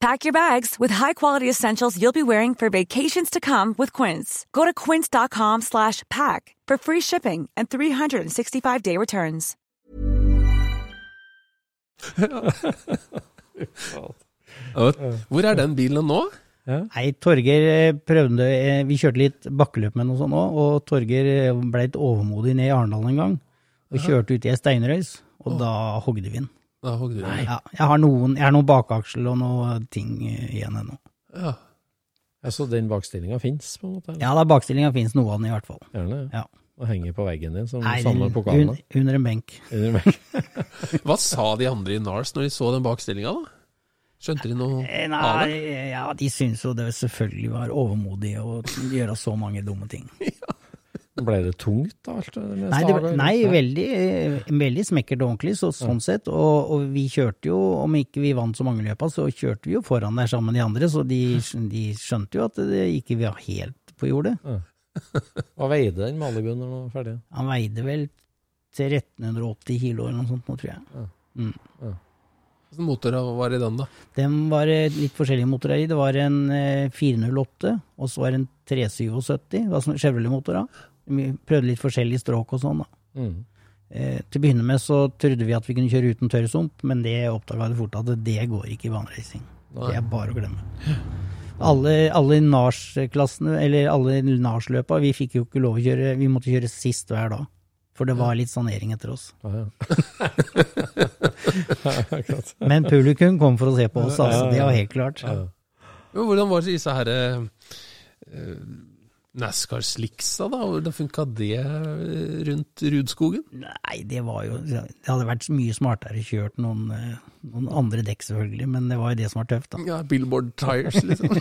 Pack your bags with high-quality essentials you'll be wearing for vacations to come with Quince. Go to quince.com slash pack for free shipping and 365-day returns. Ja, vet- Hvor er den bilen nå? Nei, Torgeir eh, prøvde eh, Vi kjørte litt bakkeløp med noe sånt òg, og Torgeir eh, ble litt overmodig ned i Arendal en gang. Og kjørte ut i ei steinrøys, og da hogde vi den. Da hogde du den. Ja, jeg har noen, jeg har noen bakaksel og noen ting eh, igjen ennå. Ja. Ja, så den bakstillinga fins, på en måte? Ja, da bakstillinga finnes noe av den i hvert fall. Gjerne. Ja. og henger på veggen din som Nei, samler un, pokalene. under en benk. Under benken. Hva sa de andre i Nars når de så den bakstillinga, da? Skjønte de noe Eh, av det? Nei, ja, de syntes jo det selvfølgelig var overmodig å gjøre så mange dumme ting. Ble det tungt, da? Alt, det med Nei, det, stager? nei veldig, eh, veldig smekkert og ordentlig, så, sånn sett. Og, og vi kjørte jo, om ikke vi vant så mange løpa, så kjørte vi jo foran der sammen med de andre, så de, skj- de skjønte jo at det ikke var helt på jordet. Hva veide den Malibu når den var ferdig? Han veide vel 1380 kilo eller noe sånt nå, tror jeg. Hvilken motor var i den, da? Den var eh, litt forskjellige motorer i. Det var en eh, 408, og så var det en 377. Det var sånn Chevrolet-motor, da. Vi prøvde litt forskjellige stråk og sånn, da. Mm. Eh, til å begynne med så trodde vi at vi kunne kjøre uten tørrsump, men det oppdaga vi fort at det går ikke i baneracing. Det er bare å glemme. Alle, alle NARS-klassene, eller alle NARS-løpa, vi fikk jo ikke lov å kjøre, vi måtte kjøre sist hver dag. For det var litt sanering etter oss. Ah, ja. Akkurat. Men publikum kom for å se på oss, altså. Det var helt klart. Jo, hvordan var disse her eh, eh, NASCAR-slicksa, da? Hvordan funka det eh, rundt Rudskogen? Nei, det var jo Det hadde vært mye smartere kjørt noen, eh, noen andre dekk, selvfølgelig, men det var jo det som var tøft, da. Ja, Billboard Tires, liksom.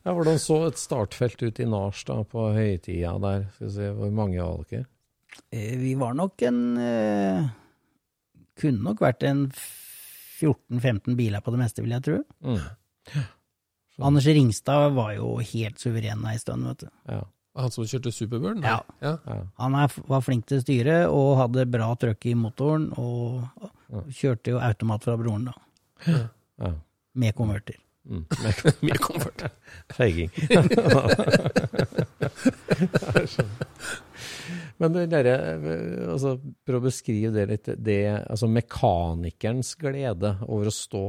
Ja, hvordan så et startfelt ut i Nars da, på høytida der? Skal vi se, Hvor mange var dere? Eh, Vi var nok en eh, Kunne nok vært en 14-15 biler på det meste, vil jeg tro. Mm. Anders Ringstad var jo helt suveren ei stund, vet du. Ja. Han som kjørte Superburn? Ja. ja. Han er, var flink til å styre og hadde bra trøkk i motoren, og og kjørte jo automat fra broren, da. ja. Med konverter. Mm. Mye komfort. Feiging. Men det dere, altså, prøv å beskrive det litt, det, altså mekanikernes glede over å stå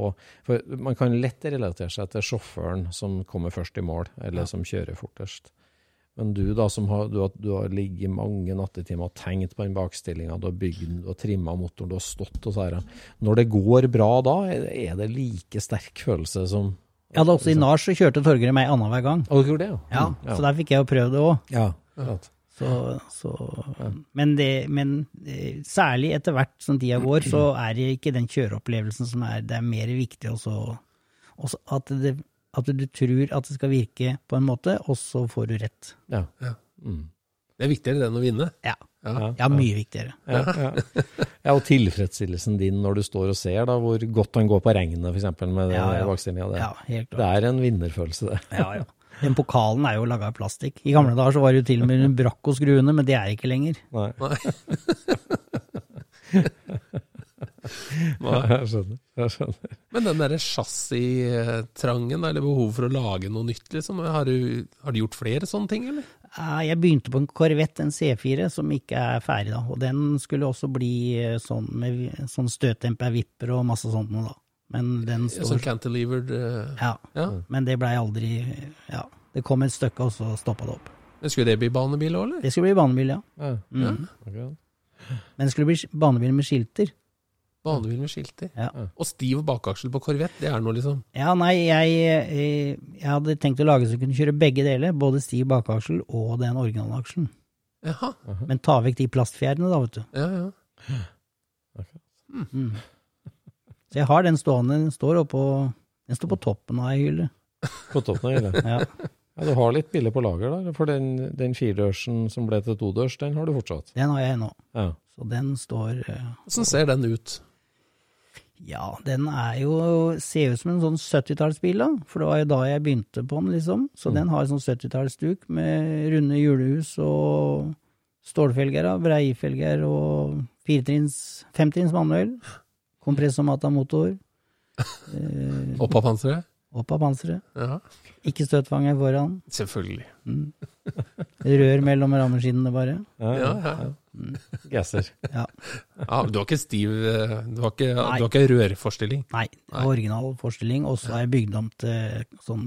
For man kan lett relatere seg til sjåføren som kommer først i mål, eller som kjører fortest. Men du da, som har, du har, du har ligget mange nattetimer og tenkt på den bakstillinga, du har bygd den, du har trimma motoren, du har stått og så her. Når det går bra da, er det- er det like sterk følelse som Ja, da også i Nars så kjørte Torgeir meg annenhver gang. Å, dere gjorde det, ja? Ja, Mm, Så der fikk jeg jo prøvd det òg. Ja, akkurat. Så, så, men, det, men eh, særlig etter hvert som tida går, så er det ikke den kjøreopplevelsen som er Det er mer viktig også, også at, det, at du tror at det skal virke på en måte, og så får du rett. Ja. Mm. Det er viktigere enn å vinne. Ja. Ja, mye viktigere. Ja, ja. ja, og tilfredsstillelsen din når du står og ser da, hvor godt han går på regnet, f.eks. med den Ja, ja. vaksinen. Det, Ja, helt klart. det er en vinnerfølelse, det. Ja, ja. Den pokalen er jo laga av plastikk. I gamle dager så var det jo til og med en brakk å skru under, men det er ikke lenger. Nei. Nei. Jeg skjønner. Jeg skjønner. Men den derre chassistrangen, eller behovet for å lage noe nytt, liksom, har du, har du gjort flere sånne ting, eller? Eh, Jeg begynte på en Corvette, en C4, som ikke er ferdig da. Og den skulle også bli eh, sånn med vi- sånn støtdempervipper og masse sånt noe da. Men den Sånn står cantilevered eh, Ja. ja. Men det blei aldri Ja. Det kom et stykke, og så stoppa det opp. Men Skulle det bli banebil òg, eller? Det skulle bli banebil, ja. Ja. Mm. akkurat. Men det skulle bli sk- banebil med skilter. Banebil med skilter. Ja. Og stiv bakaksel på Corvette, det er noe, liksom. Ja, nei, jeg, eh, jeg hadde tenkt å lage så jeg kunne kjøre begge deler, både stiv bakaksel og den originalaksjen. Jaha. Men ta vekk de plastfjærene, da, vet du. Ja, ja. Så jeg har den stående, den står oppå Den står på toppen av ei hylle. På toppen av hele. Ja. Ja, du har litt biler på lager, da. For den, den firedørsen som ble til todørs, den har du fortsatt. Den har jeg nå. Ja. Så den står eh, Åssen ser den ut? Ja, den er jo Ser ut som en sånn 70-tallsbil, da. For det var jo da jeg begynte på den, liksom. Så den har sånn 70-tallsduk med runde hjulhus og stålfelger, da. Breifelger og firetrinns Femtrinns manuell. Kompressomata motor. Eh, Opp av panseret? Opp av panseret. Ja, Ikke støtfanger foran. selvfølgelig. Mm. Rør mellom rammeskinnene, bare. Ja, Ja, ja. Mm. Gasser. Ja. ja Du har ikke stiv eh, Du har ikke, du Nei. har ikke rørforstilling? Nei, det var original forestilling. Og så har jeg bygd om til sånn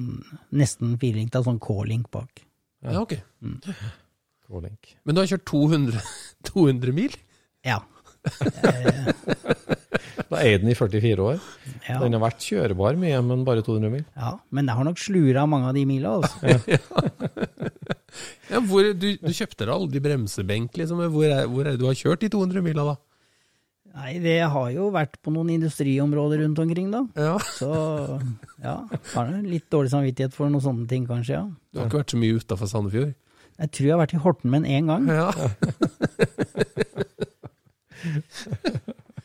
nesten firelink, da. Sånn K-link bak. Ja, ok. K-link. Men du har kjørt 200, 200 mil? Ja. Eh, Da eier den i 44 år. ja. Den har vært kjørebar mye, men bare 200 mil. Ja, men jeg har nok slura mange av de mila, altså. Ja, Ja, hvor, du, du kjøpte deg aldri bremsebenk, liksom. Hvor er, hvor er du har kjørt de 200 mila, da? Nei, det har jo vært på noen industriområder rundt omkring, da. Ja. Så ja, har jeg litt dårlig samvittighet for noen sånne ting, kanskje. ja. Du har ikke vært så mye utafor Sandefjord? Jeg tror jeg har vært i Hortenmen én gang. Ja.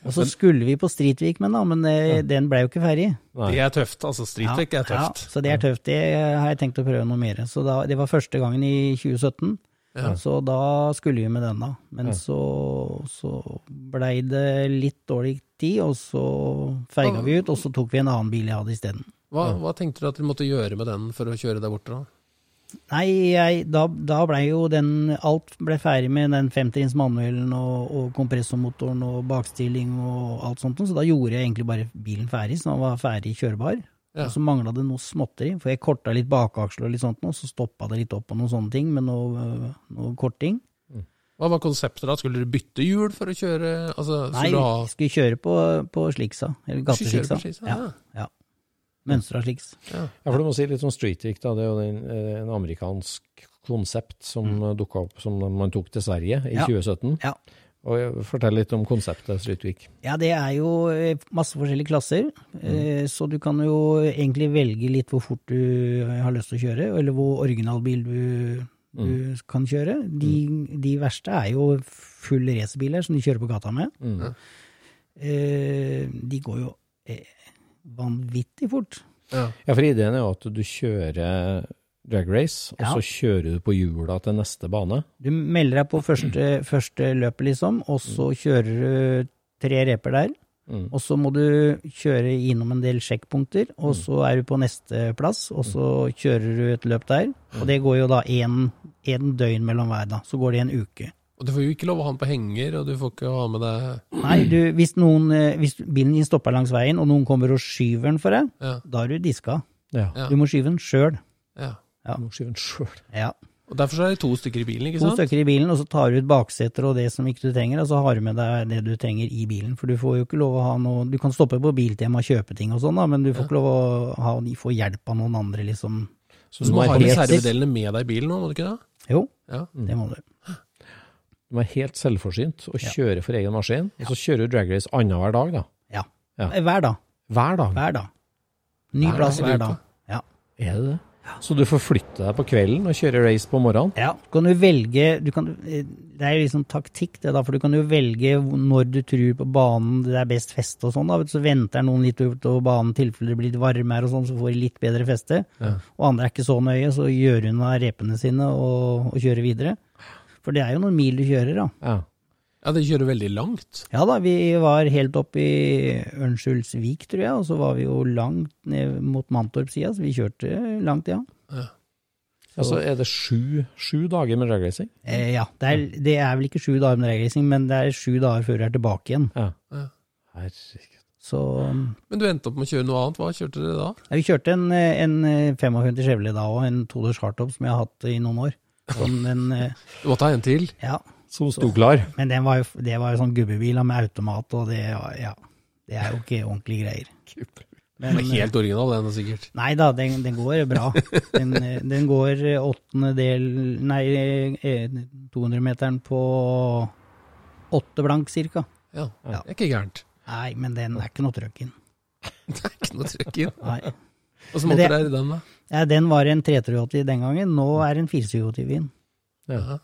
Og så skulle vi på Stritvikmen, da, men eh, den ble jo ikke ferdig. Det er tøft. Altså, streetdekk er tøft. Ja, så det er tøft. Det har jeg tenkt å prøve noe mer. Så da, det var første gangen i 2017. Så da skulle vi med den, da. Men så, så blei det litt dårlig tid, og så feiga vi ut, og så tok vi en annen bil jeg hadde isteden. Hva, hva tenkte du at du måtte gjøre med den for å kjøre der borte, da? Nei, jeg, da, da blei jo den Alt ble ferdig med den femtrins manuellen og, og kompressormotoren og bakstilling og alt sånt, så da gjorde jeg egentlig bare bilen ferdig, så den var ferdig kjørbar. Ja. Og så mangla det noe småtteri, for jeg korta litt bakaksler og litt sånt, og så stoppa det litt opp på noen sånne ting med noe, øh, noe korting. Hva var konseptet da? Skulle dere bytte hjul for å kjøre altså, Nei, skulle du ha, vi skulle kjøre på, på sliksa, Skulle eller kjøre på gatesliksa. sliksa, Ja, ja. ja. Mønstra sliks. Ja, for du må si litt om street trick, da. Det er jo en, en amerikansk konsept som mm. dukka opp, som man tok til Sverige i Ja. 2017. Ja. Og jeg- Fortell litt om konseptet street trick. Ja, det er jo eh, masse forskjellige klasser, eh, så du kan jo egentlig velge litt hvor fort du har lyst til å kjøre, eller hvor originalbil du, du kan kjøre. De, de verste er jo full racerbiler som du kjører på gata med. Mm. Eh, De går jo eh, vanvittig fort. Ja, for ideen er jo at du kjører drag race, og Ja. så kjører du på hjula til neste bane. Du melder deg på første, første løpet, liksom, og så Mm. kjører du tre reper der. Og så må du kjøre innom en del sjekkpunkter, Mm. og så er du på neste plass, og så kjører du et løp der. Og Mm. det går jo da én døgn mellom hver, da. Så går det en uke. Og du får jo ikke lov å ha den på henger, og du får ikke ha med deg Nei, du, hvis, noen, eh, hvis bilen din stopper langs veien, og noen kommer og skyver den for deg, Ja. da er du diska. Ja. Ja. Du må skyve den sjøl. ja. Du må skyve den sjøl. Ja. Og Derfor så er det to stykker i bilen, ikke To sant? stykker i bilen, og så tar du ut bakseter og det som ikke du trenger, og så har du med deg det du trenger i bilen. For du får jo ikke lov å ha noe Du kan stoppe på Biltema og kjøpe ting og sånn, da, men du får ikke lov å ha, få hjelp av noen andre, liksom. Så Du må ha helt- reservedelene med deg i bilen nå, må du ikke det? Jo, Ja. det må du. Du må være helt selvforsynt og kjøre for egen maskin. Og så kjører du drag race annenhver dag, da. Ja. Ja. Hver dag. Hver dag. Hver dag. Ny Hver plass dag, lurer hver dag. på. Ja. Er det det? Så du får flytte deg på kvelden og kjøre race på morgenen? ja. Så kan du velge du kan, Det er jo liksom taktikk, det, da, for du kan jo velge når du tror på banen det er best feste og sånn. da, vet du, Så venter noen litt utover banen i tilfelle det blir litt varmere og sånn, så får de litt bedre feste. Og andre er ikke så nøye, så gjør unna repene sine og, og kjører videre. For det er jo noen mil du kjører, da. Ja. Ja, det kjører veldig langt. Ja da, vi var helt opp i Ørnskjulsvik, tror jeg, og så var vi jo langt ned mot Mantorp-sida, så vi kjørte langt, ja. Altså, er det sju, sju dager med drag racing? Eh, ja, det er, det er vel ikke sju dager med reglesing, men det er sju dager før du er tilbake igjen. Ja. Ja. Herregud. Så ja, Men du endte opp med å kjøre noe annet. Hva kjørte dere da? vi kjørte en, eh, en eh, 55 Chevrolet da og en todørs hardtop som jeg har hatt i noen år. Sånn, den, eh, Du måtte ha en til. ja, Som sto klar. men den var jo, det var jo sånn gubbebil da, med automat, og det, var- ja, det er jo ikke ordentlige greier. Den eh, var helt original, den sikkert. Nei da, den, den går bra. Den, eh, den går eh, åttende del Nei, eh, 200-meteren på åtte blank, cirka. Ja. Det er ikke gærent. Nei, men den er ikke noe trøkk inn. Det er ikke noe trøkk inn. Nei. Og så Men måtte det- dere i den, da. Ja, den var en 383 den gangen, nå er det en 487 i den. Ja.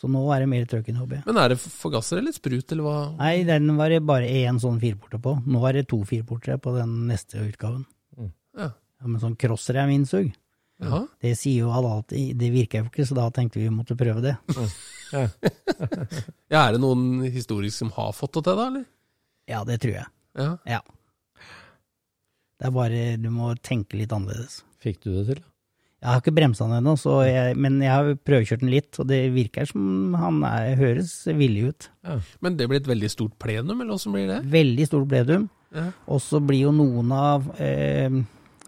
Så nå er det mer trøkk enn hobby. Men er det forgasser eller sprut, eller hva? Nei, den var det bare én sånn fireporter på. Nå er det to fireportere på den neste utgaven. Ja. Ja, Men sånn crosser er min sug. Ja. Det sier jo alle alltid, det virker jo ikke, så da tenkte vi vi måtte prøve det. ja, er det noen historisk som har fått det til, da, eller? Ja, det tror jeg. Ja. Ja. Det er bare, du må tenke litt annerledes. Fikk du det til? Jeg har ikke bremsa den ennå, så jeg- men jeg har prøvekjørt den litt, og det virker som han er, høres villig ut. Men det blir et veldig stort plenum, eller åssen blir det? Veldig stort pledum. Ja. Og så blir jo noen av eh,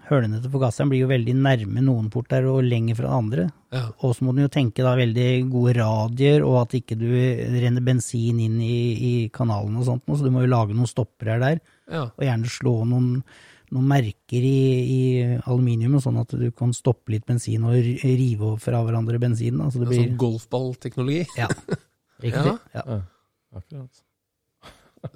hølene til forgasseren blir jo veldig nærme noen porter og lenger fra andre. Ja. Og så må du jo tenke da veldig gode radier, og at ikke du renner bensin inn i, i kanalen og sånt, noe, så du må jo lage noen stoppere der, Ja. og gjerne slå noen, noen merker i, i aluminiumet, sånn at du kan stoppe litt bensin og r- rive over fra hverandre bensinen. da, så det blir Sånn golfballteknologi. Ja, riktig. Ja. Akkurat.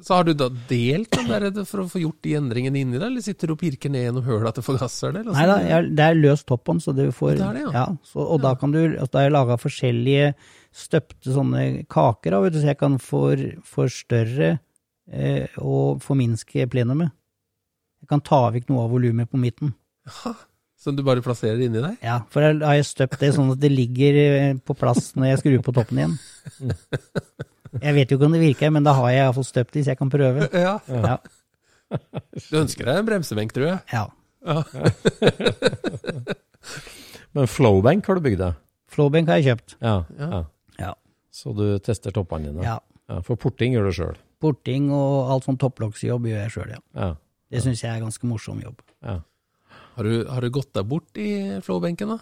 Så har du da delt den der for å få gjort de endringene inni der, eller sitter du og pirker ned gjennom høla til forgasseren? eller Nei da, sånn? jeg- det er løs toppånd, så du får Det er det, ja. så, Og da kan du altså, Da har jeg laga forskjellige støpte sånne kaker, da, vet du, så jeg kan for, forstørre eh, og forminske plenumet. Jeg kan ta vekk noe av volumet på midten. Som du bare plasserer inni deg? Ja, for da har jeg støpt det sånn at det ligger eh, på plass når jeg skrur på toppen igjen. Jeg vet jo ikke om det virker, men da har jeg iallfall støpt det, så jeg kan prøve. Ja. Ja, Du ønsker deg en bremsebenk, tror jeg. ja. Men flowbank har du bygd deg? Flowbank har jeg kjøpt. Ja, ja. Ja. Så du tester toppene dine? ja. Ja, For porting gjør du sjøl? Porting og alt sånn topplokksjobb gjør jeg sjøl, ja. Ja. Det syns jeg er ganske morsom jobb. ja. Har du, har du gått deg bort i flowbenken, da?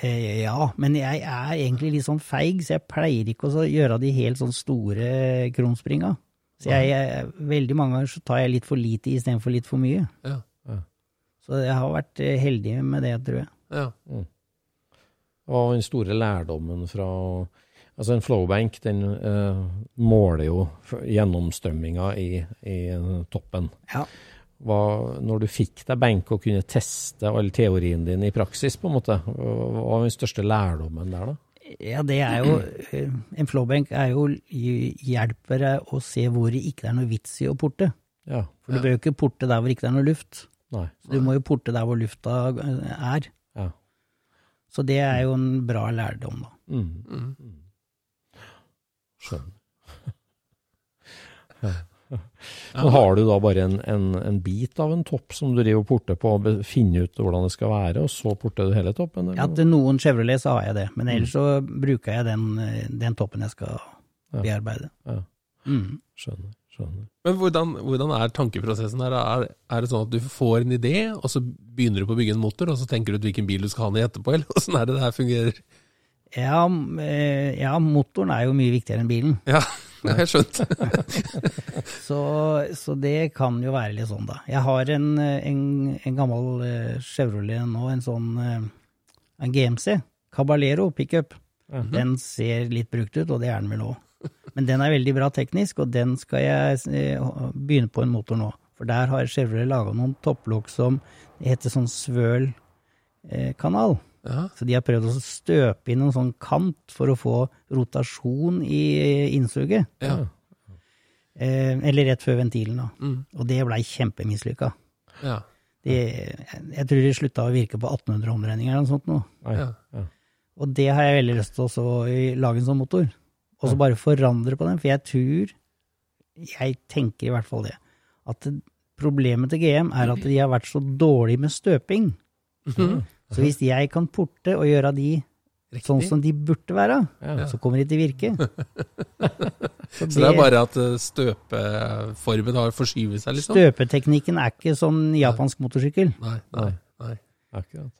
Eh, ja, men jeg er egentlig litt sånn feig, så jeg pleier ikke å så gjøre de helt sånn store krumspringa. Så jeg, jeg, veldig mange ganger så tar jeg litt for lite istedenfor litt for mye. Ja. Så jeg har vært eh, heldig med det, tror jeg. ja. Og den store lærdommen fra Altså, en flowbank den eh, måler jo f- gjennomstrømminga i, i eh, toppen. Ja. Hva, når du fikk deg benk og kunne teste all teorien din i praksis, på en måte, hva var den største lærdommen der, da? Ja, det er jo eh, En flowbank er jo hjelper deg å se hvor det ikke er noe vits i å porte. Ja. For du bør jo ikke porte der hvor det ikke er noe luft. Nei. Så du må jo porte der hvor lufta eh, er. Ja. Så det er jo en bra lærdom, da. Mm. Skjønner. Men har du da bare en, en, en bit av en topp som du driver og porter på, og be- finner ut hvordan det skal være, og så porter du hele toppen? eller? Ja, til noen Chevrolet så har jeg det, Mm. men ellers så bruker jeg den, eh, den toppen jeg skal bearbeide. Ja. Mm. Skjønner. skjønner. Men hvordan, hvordan er tankeprosessen her? Er, er det sånn at du får en idé, og så begynner du på å bygge en motor, og så tenker du ut hvilken bil du skal ha ned etterpå, eller åssen er det det her fungerer? Ja, m- eh, ja, motoren er jo mye viktigere enn bilen, Ja, jeg har skjønt. så, så det kan jo være litt sånn, da. Jeg har en, eh, en, en gammel eh, Chevrolet nå, en sånn eh, en GMC, Caballero pickup. Den ser litt brukt ut, og det er den vel òg. Men den er veldig bra teknisk, og den skal jeg eh, begynne på en motor nå. For der har Chevrolet laga noen topplokk som heter sånn svøl-kanal. Ja. Så de har prøvd å støpe inn en sånn kant for å få rotasjon i innsuget. Ja. Eh, eller rett før ventilen, da. Og det blei kjempemislykka. Ja. De, jeg tror de slutta å virke på 1800 omregninger eller noe sånt. Nå. Nei, Ja. ja. Og det har jeg veldig lyst til også å i- lage en sånn motor. Og så bare forandre på den, for jeg tror Jeg tenker i hvert fall det. At det- problemet til GM er at de har vært så dårlige med støping. Så hvis jeg kan porte og gjøre de sånn som de burde være, så kommer de til å virke. Så, Så det er bare at eh, støpeformen har forskyvet seg, liksom? Støpeteknikken er ikke som japansk motorsykkel. Nei, nei, nei. Akkurat.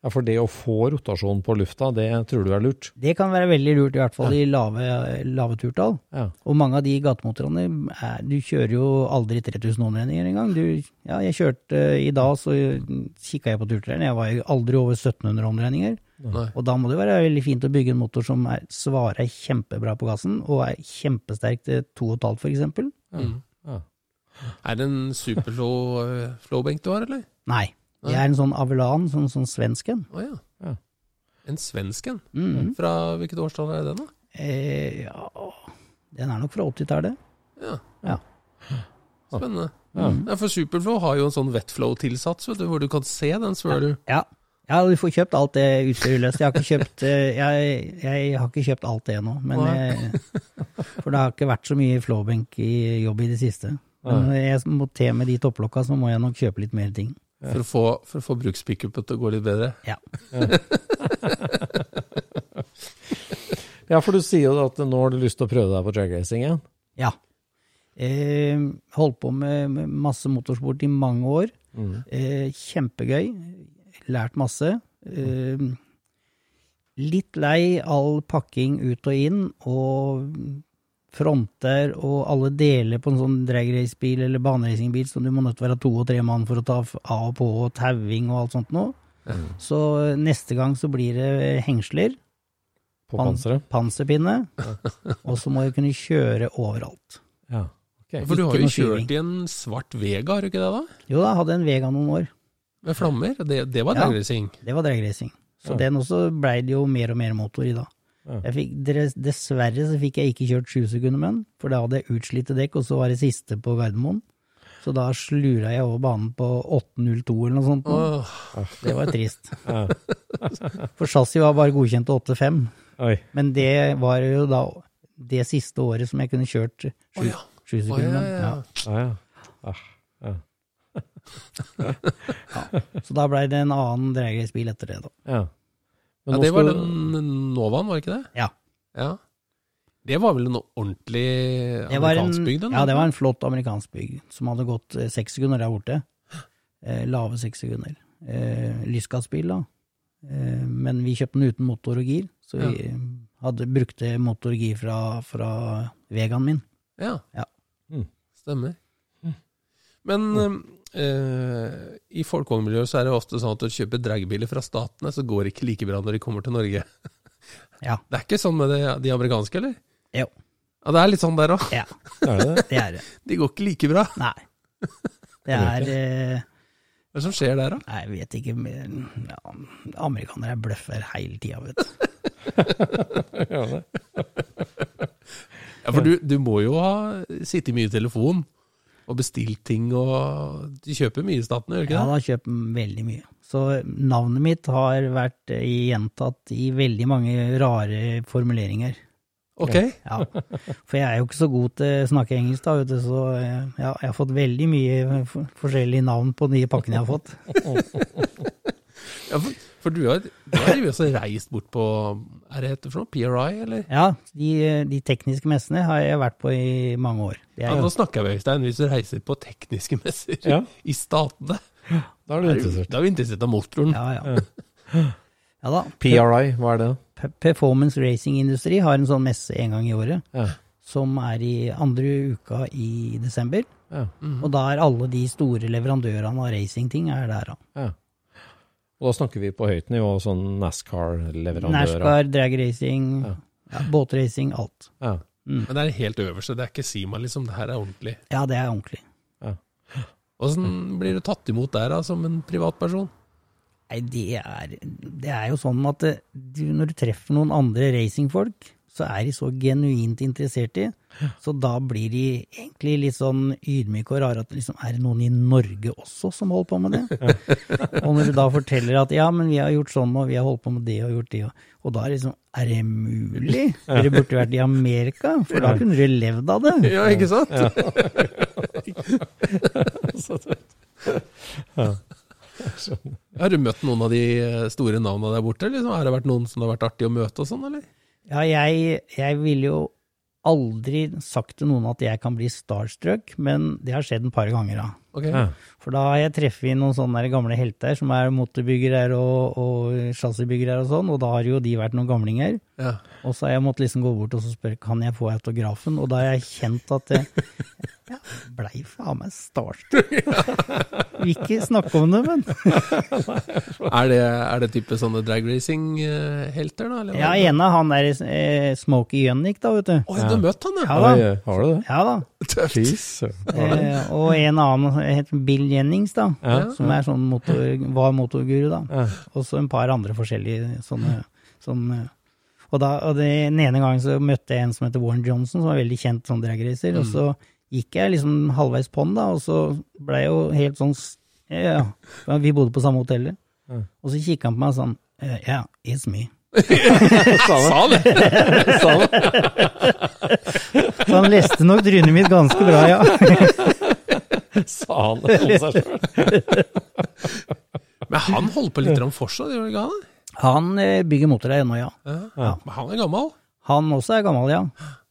Ja, For det å få rotasjon på lufta, det tror du er lurt? Det kan være veldig lurt, i hvert fall i lave, lave turtall. Ja. Og mange av de gatemotorene er, Du kjører jo aldri 3000 omregninger engang. Du, ja, jeg kjørte eh, i dag, så kikka jeg på turtreeren. Jeg var jo aldri over 1700 omregninger. Nei. Og da må det være veldig fint å bygge en motor som er, svarer kjempebra på gassen, og er kjempesterk til 2,5 f.eks. Er det en superflow eh, flowbenk du har, eller? Nei. Det er en sånn Avelan, sånn, sånn svensk en. Å ja. Ja. En svensken? Mhm. Fra hvilket årstall er den, da? Eh, ja Den er nok fra 80-tallet. Ja. Ja. Spennende. Mm. Ja, for Superflow har jo en sånn wetflow-tilsats, vet du, hvor du kan se den swirler. Ja. ja, du får kjøpt alt det utstyret løst. Jeg har ikke kjøpt, eh, jeg, jeg har ikke kjøpt alt det ennå. men, eh, For det har ikke vært så mye flåbenk i jobb i det siste. Men når jeg må te med de topplokka, så må jeg nok kjøpe litt mer ting. For å få, for å få brukspickupen til å gå litt bedre. Ja. Ja, for du sier jo at nå har du lyst til å prøve deg på dragracing igjen. ja. Eh, holdt på med med masse motorsport i mange år. Mm. Eh, kjempegøy. Lært masse. Eh, litt lei all pakking ut og inn, og fronter, og alle deler på en sånn dragracingbil eller baneracingbil som du må nødt til å være to og tre mann for å ta f- av og på, og tauing og alt sånt noe. Mm. Så eh, neste gang så blir det hengsler, på pan- panseret. panserpinne, og så må du kunne kjøre overalt. Ja. ok. For du har Ikke jo noe skyving. kjørt i en svart Vega, har du ikke det? da? Jo da, hadde en Vega noen år. Med flammer. Det, det var Ja. dragracing. Det var dragracing. Så Ja. den også blei det jo mer og mer motor i da. Ja. Jeg fikk, dres- dessverre så fikk jeg ikke kjørt sju sekunder med den, for da hadde jeg utslitte dekk, og så var det siste på Gardermoen. Så da slura jeg over banen på 8.02 eller noe sånt. Åh, Det var trist. Ja. For chassis var bare godkjent til 8.5, Oi. men det var jo da det siste året som jeg kunne kjørt sju, Å ja. sju Å, sekunder ja, med den. ja. Ja, ja. Ja. Så da blei det en annen dragracebil etter det, da. ja. Men ja, nå det var skal- den Novaen, var det ikke det? Ja. Ja. Det var vel en ordentlig Det var en, amerikansk bygd? ja, det var en flott amerikansk bygg som hadde gått eh, seks sekunder der borte. Eh, lave seks sekunder. Eh, Lyskassbil, da. Eh, men vi kjøpte den uten motor og gir, så vi eh, hadde, brukte motor og gir fra, fra vegaen min. Ja. Ja. Mm. Stemmer. Men Mm. eh, i folkevognmiljøet så er det ofte sånn at å kjøpe dragbiler fra statene, så går det ikke like bra når de kommer til Norge. Ja. Det er ikke sånn med de, de amerikanske, eller? Jo. Ja, det er litt sånn der òg. Ja, Er det det? det er det. De går ikke like bra. Nei. Det er eh, Hva er det som skjer der, da? Nei, jeg vet ikke men, ja, Amerikanere bløffer hele tida, vet du. Ja, det. Ja, For du, du må jo ha sittet mye i telefon og bestilt ting og Du kjøper mye i staten, gjør du ikke Ja, det? da kjøper de veldig mye. Så eh, navnet mitt har vært eh, gjentatt i veldig mange rare formuleringer. Ok. Ja. For jeg er jo ikke så god til å snakke engelsk, da, vet du, så eh, ja, jeg har fått veldig mye for- forskjellige navn på de pakkene jeg har fått. Ja, for, for du har, du har jo også reist bort på Er det heter for noe? PRI, eller? Ja, de, eh, de tekniske messene har jeg vært på i mange år. Det Ja, er nå jo, snakker vi, Øystein, hvis du reiser på tekniske messer Ja. i statene. Da er Da du er vi- interessert. da er vi interessert av motoren. ja, ja. ja da. PRI, hva er det? P- Performance Racing Industry har en sånn messe en gang i året, Ja. som er i andre uka i desember. Ja. Og da er alle de store leverandørene av racingting er der. da. ja. Og da snakker vi på høyt nivå, sånn NASCAR-leverandører. NASCAR, drag racing, Ja. ja, båtracing, alt. Ja. Mm. Men det er helt øverste, det er ikke Sima, liksom. Det her er ordentlig. Ja, det er ordentlig. Åssen blir du tatt imot der, da, som en privatperson? Nei, det er, det er jo sånn at eh, du, når du treffer noen andre racingfolk, så er de så genuint interessert i, så da blir de egentlig litt sånn ydmyke og rare at liksom, er det noen i Norge også som holder på med det? og når du da forteller at ja, men vi har gjort sånn og vi har holdt på med det og gjort det, og- og da er det liksom, er det mulig? Dere burde vært i Amerika, for da kunne dere levd av det. Ja, ikke sant? Har du møtt noen av de eh, store navna der borte? Liksom? Har det vært noen som det har vært artig å møte og sånn, eller? Ja, jeg, jeg ville jo aldri sagt til noen at jeg kan bli starstruck, men det har skjedd en par ganger da. Ok. Ja. For da har jeg treffet noen sånne der gamle helter som er motorbyggere og, og chassisbyggere og sånn, og da har jo de vært noen gamlinger. Ja. Og så har jeg måttet liksom gå bort og så spørre kan jeg få autografen, og da har jeg kjent at det jeg blei faen meg starstruck. Vil ikke snakke om det, men. Er, det, er det type sånne drag racing-helter, da? Eller? hva? Ja, ene han der eh, Smokey Jønnik da, vet du. Å, ja, du har møtt han, ja? Ja da. Oi, har du det? Ja da. Fy søren. Eh, og en annen heter Bill Jennings, da. Ja. Som er sånn motor, var motorguru, da. Og så en par andre forskjellige sånne, sånne Og, da, og det, den ene gangen så møtte jeg en som heter Warren Johnson, som var veldig kjent som dragracer. Og så gikk jeg liksom halvveis på'n, da, og så blei jeg jo helt sånn s- ja, ja. Vi bodde på samme hotellet. Og så kikka han på meg sånn eh, Ja, it's me. Sa han det? Sa han det? Så han leste nok trynet mitt ganske bra, ja. Sa han det om seg sjøl? Men han holdt på litt om fortsatt, gjorde ikke han det? Han eh, bygger motor ennå, ja. Ja. Men han er gammel. Han også er gammel, ja.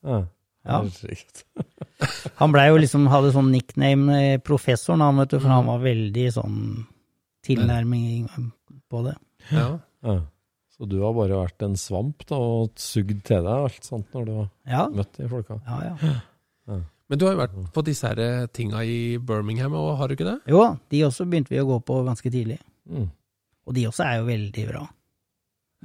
Ja. Ja. Herregud. Han blei jo liksom, hadde sånn nickname eh, professoren, han, vet du, for han var veldig sånn tilnærming eh, på det. Ja. Ja. Så du har bare vært en svamp da, og sugd til deg alt sånt når du har Ja, møtt de folka? ja, ja. Men du har jo vært på disse her eh, tinga i Birmingham òg, har du ikke det? Jo, de også begynte vi å gå på ganske tidlig. Mm. Og de også er jo veldig bra.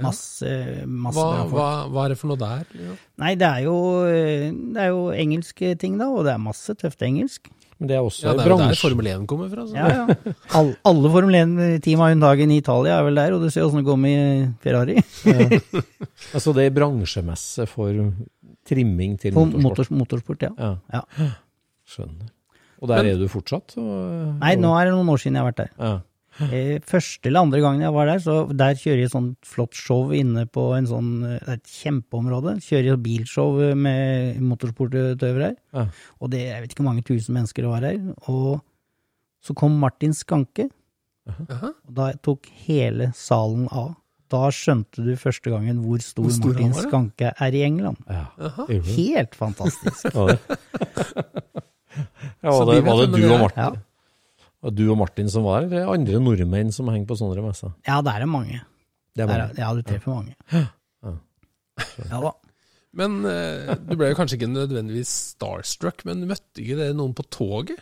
Masse, masse Hva, bra folk. hva, hva er det for noe der? Ja. Nei, det er jo, eh, det er jo engelske ting, da, og det er masse tøft engelsk. Men det er også Ja, det en er jo der bransje. Formel 1 kommer fra. Så. Ja, ja. All, alle Formel 1-team har jo en dag i Italia, er vel der, og du ser åssen det går med Ferrari. altså det er bransjemesse for trimming til På motorsport. motors, motorsport, ja. Ja. ja. Skjønner. Og der er du fortsatt? Og, Nei, nå er det noen år siden jeg har vært der. Ja. Eh, første eller andre gangen jeg var der, så der kjører jeg sånn flott show inne på en sånn, eh, det er et kjempeområde. Kjører jeg bilshow eh, med motorsportutøvere her. Ja. Og det, jeg vet ikke hvor mange tusen mennesker det var her. Og så kom Martin Skanke, og da tok hele salen av. Da skjønte du første gangen hvor stor, stor han Martin var, ja. Skanke er i England. ja. Mhm. Helt fantastisk. Ja, det. Ja, Så var de det, vet var det hvem du det og er. Martin? Ja, Var det du og Martin som var her, eller er det andre nordmenn som henger på sånne messer? ja der er mange. Det er Der bare er, ja, du treffer mange. Ja da. Men eh, du ble jo kanskje ikke nødvendigvis starstruck, men møtte ikke dere noen på toget?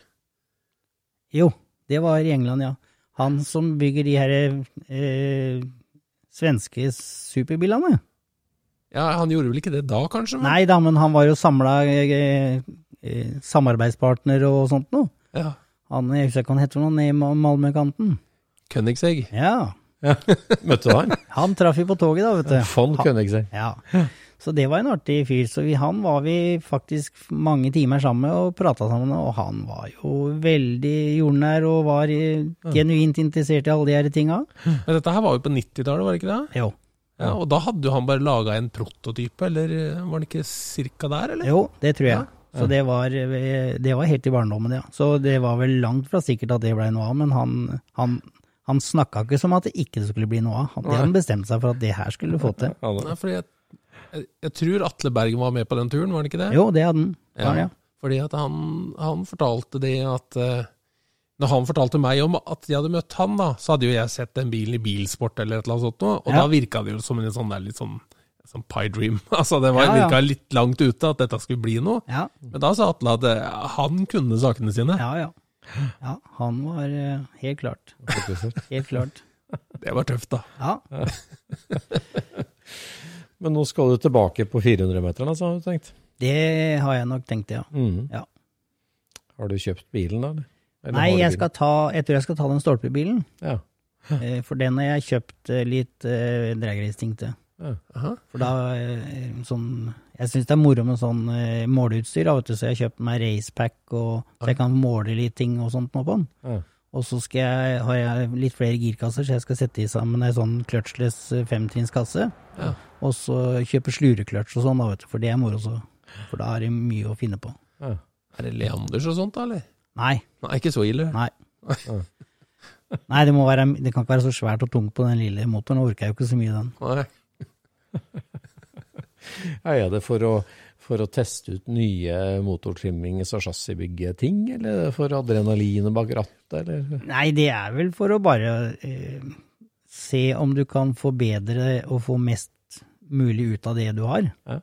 Jo, det var i England, ja. Han som bygger de her eh, svenske superbilene. Ja, Han gjorde vel ikke det da, kanskje? Men, Nei da, men han var jo samla eh, eh, samarbeidspartner og sånt noe. Ja. Han, jeg husker ikke hva han heter, for noe, nede i Ma- Malmøkanten. Königsegg. Ja, Møtte du han? han traff vi på toget da, vet du. Von Königsegg. Ja. Så det var en artig fyr. Så vi, han var vi faktisk mange timer sammen med og prata sammen med, og han var jo veldig jordnær og var eh, genuint interessert i alle de her tinga. Men dette her var jo på 90-tallet, var det ikke det? Jo. Ja, og da hadde jo han bare laga en prototype, eller eh, var det ikke cirka der, eller? Jo, det tror jeg. Så det var, eh, det var helt i barndommen, ja. Så det var vel langt fra sikkert at det blei noe av, men han, han, han snakka ikke som at det ikke skulle bli noe av. Han, det han bestemte seg for at det her skulle du få til. Nei, fordi jeg, jeg, jeg tror Atle Bergen var med på den turen, var han ikke det? Jo, det hadde han. Det var det, ja. Fordi at han, han fortalte det at eh, Når han fortalte meg om at jeg hadde møtt han, da, så hadde jo jeg sett den bilen i Bilsport eller et eller annet sånt, noe, og Ja. da virka det jo som en sånn der litt sånn, sånn pie dream. altså Det var, Ja, ja. virka litt langt ute at dette skulle bli noe. Ja, Men da sa Atle at eh, han kunne sakene sine. ja. ja. Ja, han var eh, helt klart. Helt klart. Det var tøft, da. Ja. Men nå skal du tilbake på 400-meteren, altså, har du tenkt? Det har jeg nok tenkt, ja. Mhm. ja. Har du kjøpt bilen, da? eller? Eller Nei, har du jeg, bilen? skal ta, jeg tror jeg skal ta den stolpebilen, Ja. eh, for den har jeg kjøpt eh, litt eh, dragrace-ting til. Ja. For da, eh, sånn, jeg syns det er moro med sånn eh, måleutstyr, da, vet du, så jeg har kjøpt meg racepack, og, så jeg kan måle litt ting og sånt nå på den. Ja. Og så skal jeg, har jeg litt flere girkasser, så jeg skal sette i sammen ei sånn clutchless eh, femtrinnskasse. Ja. Og så kjøpe slurekløtsj og sånn, da, vet du, for det er moro, så. For da er det mye å finne på. Ja. Er det Leanders og sånt, da, eller? Nei, Nei, ikke så ille. nei. Nei, det, må være, det kan ikke være så svært og tungt på den lille motoren, og orker jeg jo ikke så mye den. Nei. Ja, Er det for å, for å teste ut nye motortrimmings- og chassisbyggeting, eller er det for adrenalinet bak rattet, eller? Nei, det er vel for å bare eh, se om du kan forbedre og få mest mulig ut av det du har. Ja,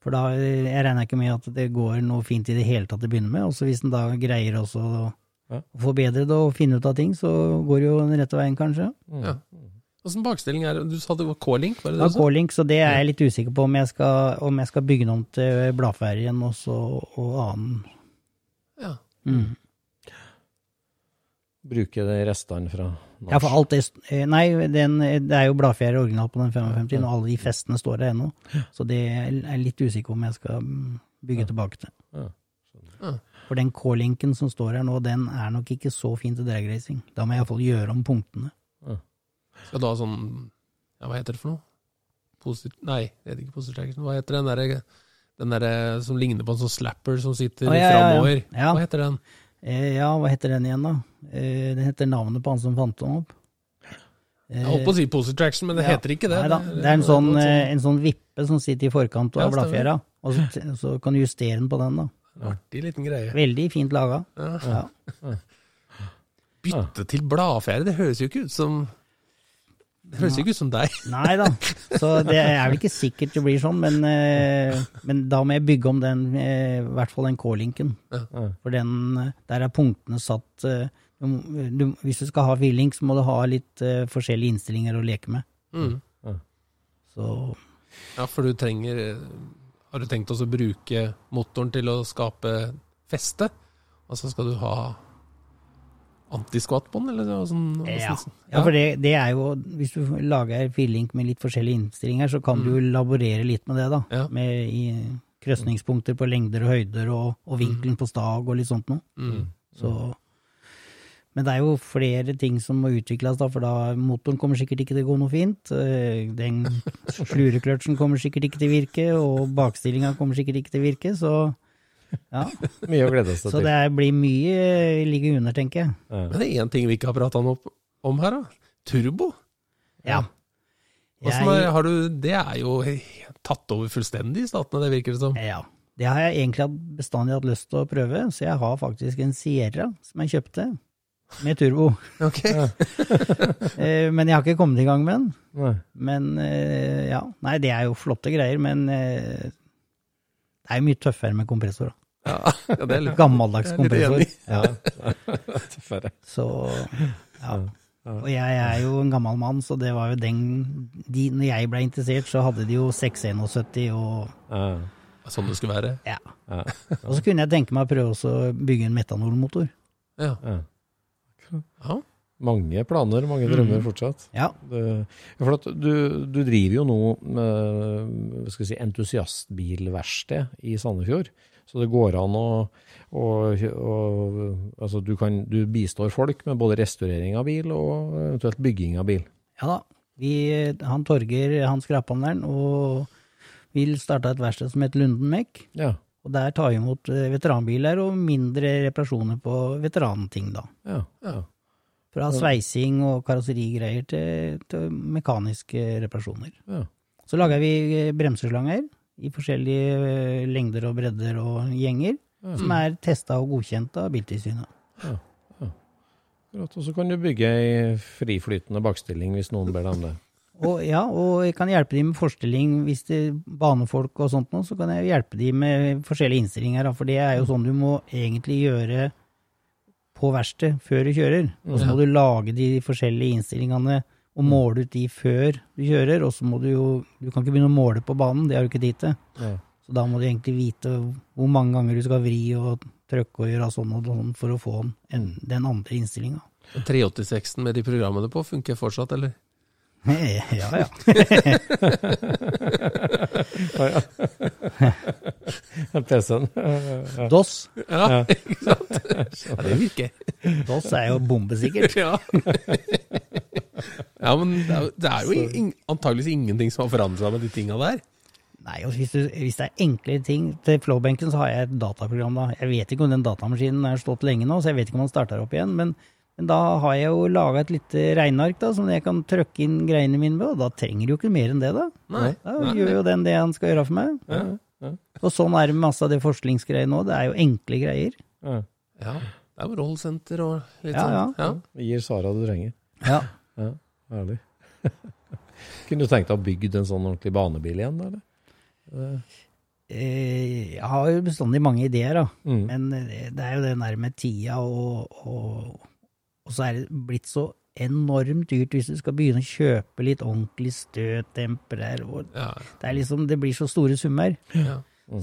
For da eh, jeg regner ikke med at det går noe fint i det hele tatt til å begynne med, og så hvis en da greier også å Ja. forbedre det og finne ut av ting, så går det jo den rette veien, kanskje. Ja. Mm. Åssen bakstilling er det? Du sa det var K-link, var det Det det? du var sa? K-link, så det er jeg litt usikker på om jeg skal, om jeg skal bygge den om til bladferien og så og annen. Ja. Mm. Bruke de restene fra Ja, for alt det eh, Nei, den, det er jo bladfjær original på den 55, og alle de festene står der ennå. Så det er jeg litt usikker om jeg skal mm, bygge tilbake til. Ja, Ja. For den K-linken som står her nå, den er nok ikke så fin til dragracing. Da må jeg iallfall gjøre om punktene. Skal du ha sånn ja, Hva heter det for noe? Posit nei, det heter ikke positive traction. Hva heter den derre den der som ligner på en sånn slapper som sitter Å, ja, ja, ja. framover? Ja. Hva heter den? Eh, ja, hva heter den igjen, da? Eh, den heter navnet på han som fant den opp. Eh, Jeg holdt på å si positive traction, men det ja. heter ikke det. Nei da, det er en sånn, eh, en sånn vippe som sitter i forkant av Ja, stemmer. bladfjæra, og så, så kan du justere den på den, da. En artig liten greie. Veldig fint laga. Ja. Bytte til bladfjære, det høres jo ikke ut som Det høres ikke ut som deg. Nei da, så det er vel ikke sikkert det blir sånn, men, eh, men da må jeg bygge om den, eh, i hvert fall den K-linken. For den, eh, der er punktene satt eh, du, må- du, Hvis du skal ha V-link, så må du ha litt eh, forskjellige innstillinger å leke med. Mm. Så Ja, for du trenger eh, Har du tenkt også å bruke motoren til å skape feste? Altså skal du ha antiskvattbånd, eller noe sånt? Ja. ja, for det, det er jo Hvis du lager V-link med litt forskjellige innstillinger, så kan du jo laborere litt med det, da. Ja. Med i krøsningspunkter på lengder og høyder, og, og vinkelen på stag og litt sånt noe. Mm. Så, men det er jo flere ting som må utvikles, da, for da motoren kommer sikkert ikke til å gå noe fint. eh, Den slurekløtsjen kommer sikkert ikke til å virke, og bakstillinga kommer sikkert ikke til å virke. Så, ja. Mye å glede seg så til. det er- blir mye eh, ligge under, tenker jeg. Men det er én ting vi ikke har prata om her, da. Turbo. Ja. Hvordan er, har du, det er jo tatt over fullstendig i statene, det virker det som. Ja. Det har jeg egentlig hatt- bestandig hatt lyst til å prøve, så jeg har faktisk en Sierra som jeg kjøpte, med turbo. Ok. Eh, Men jeg har ikke kommet i gang med den. Nei. Men eh, ja. Nei, det er jo flotte greier, men eh, det er jo mye tøffere med kompressor. da. Ja, ja, det er litt Gammeldags Jeg er litt enig. kompressor. Ja, Dessverre. så ja. Og jeg er jo en gammel mann, så det var jo den de, Når jeg ble interessert, så hadde de jo 671 og Ja. sånn det skulle være. Ja. Ja. Og så kunne jeg tenke meg å prøve også å bygge en metanolmotor. Ja. Ja. Ja. Mange planer, mange drømmer fortsatt. Ja. Det, ja, for at du, du driver jo nå med hva skal jeg si, entusiastbilverksted i Sandefjord. Så det går an å, å, å altså du, kan, du bistår folk med både restaurering av bil og eventuelt bygging av bil. Ja da. Vi, han Torger, han skraphandleren, og vi starta et verksted som het Lunden Mek. Ja, Og der tar vi imot eh, veteranbiler og mindre reparasjoner på veteranting, da. ja, ja. Fra sveising og karosserigreier til, til mekaniske reparasjoner. Ja. Så lager vi eh, bremseslanger i forskjellige eh, lengder og bredder og gjenger, som er testa og godkjent av Biltilsynet. Akkurat. Og så kan du bygge ei friflytende bakstilling hvis noen ber deg om det. Og, ja, og jeg kan hjelpe de med forstilling hvis det er banefolk og sånt noe, så kan jeg hjelpe de med forskjellige innstillinger, da, for det er jo sånn du må egentlig gjøre på verksted før du kjører. Og så må du lage de forskjellige innstillingene og måle ut de før du kjører, og så må du jo Du kan ikke begynne å måle på banen, det har du ikke tid til. Nei. Så da må du egentlig vite hvor mange ganger du skal vri og trykke og gjøre sånn og sånn for å få en, den andre innstillinga. 386-en med de programmene på funker fortsatt, eller? ja, ja. PC-en. DOS. Ja, ikke sant? Ja, det virker. DOS er jo bombesikkert. Ja. ja, men det er jo- det er jo ing- antageligvis ingenting som har forandret seg med de tinga der. Nei, og hvis, du, hvis det er enklere ting Til flowbenken så har jeg et dataprogram da. Jeg vet ikke om den datamaskinen har stått lenge nå, så jeg vet ikke om den starter opp igjen. Men, men da har jeg jo laga et lite regneark da, som jeg kan trykke inn greiene mine på. Og da trenger du jo ikke mer enn det, da. Nei. Da gjør jo den det han skal gjøre for meg. Og sånn er det med masse av det forskningsgreiene nå. Det er jo enkle greier. Ja. Ja, det er jo rollsenter og litt Ja, sånn. Ja. Vi Gir Sara det du trenger. Ja. Ja, Herlig. Kunne du tenkt deg å bygge en sånn ordentlig banebil igjen, da, eller? Eh, Jeg har jo bestandig mange ideer, da. Mm. Men eh, det det er jo det der med tida, og, og, og så er det blitt så enormt dyrt hvis du skal begynne å kjøpe litt ordentlig støtdemper der. Og Ja. det, er liksom, det blir så store summer. Ja.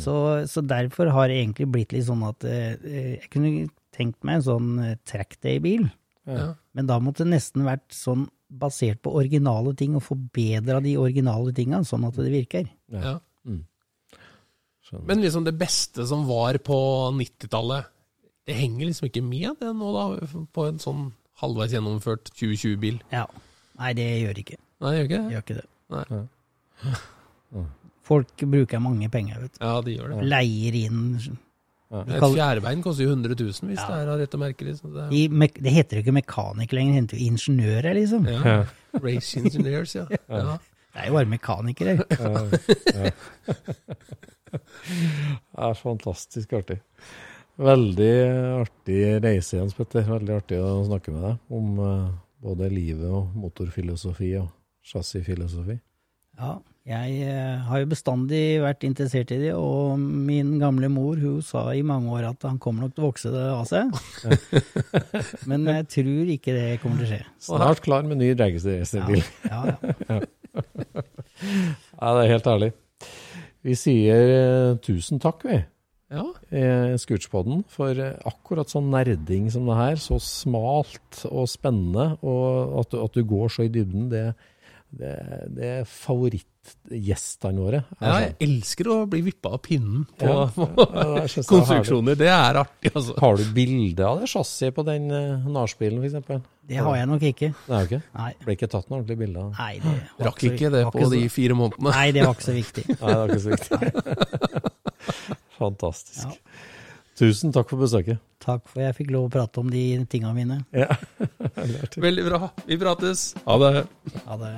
Så, så derfor har det egentlig blitt litt sånn at eh, eh, jeg kunne tenkt meg en sånn eh, trackday-bil, Ja. men da måtte det nesten vært sånn basert på originale ting, og forbedra de originale tinga sånn at det virker. Ja. Skjønner. Men liksom det beste som var på 90-tallet, det henger liksom ikke med det nå, da, på en sånn halvveis gjennomført 2020-bil. Ja. Nei, det gjør ikke. Nei, gjør ikke Det det? gjør ikke det. Nei. Folk bruker mange penger, vet du. Ja, de gjør det. Leier inn Et fjærbein koster jo 100 000 hvis det er av rette merker. Liksom. Det er de, mek- Det heter jo ikke mekanik lenger, det heter jo ingeniører, liksom. Ja. Race Engineers, ja. ja. Det er jo bare mekanikere. Det er fantastisk artig. Veldig artig reise, Jens Petter. Veldig artig å snakke med deg om eh, både livet og motorfilosofi og Chassisfilosofi. Ja, jeg eh, har jo bestandig vært interessert i det, og min gamle mor hun sa i mange år at han kommer nok til å vokse det av seg. Men jeg tror ikke det kommer til å skje. Snart klar med ny dragestrebil. Ja, ja. Ja, det er helt ærlig. Vi sier eh, tusen takk, vi, Ja. i Scootspodden, for eh, akkurat sånn nerding som det her, så smalt og spennende, og at du, at du går så i dybden, det, det, det er favorittgjestene våre. er ja, jeg sånn. elsker å bli vippa av pinnen på Ja, ja, det synes jeg er konstruksjoner. Det er artig, altså. Har du bilde av det chassiset på den eh, nachspielen, f.eks.? Det har jeg nok ikke. Nei, ok. Nei. Ble ikke tatt noe ordentlig bilde av det. Nei, det var Rakk så ikke viktig- det var på så- de fire månedene. Nei, det var ikke så viktig. Nei, det var ikke så viktig. Fantastisk. Ja. Tusen takk for besøket. Takk for jeg fikk lov å prate om de tinga mine. Veldig bra. Vi prates. Ha det. Ha det.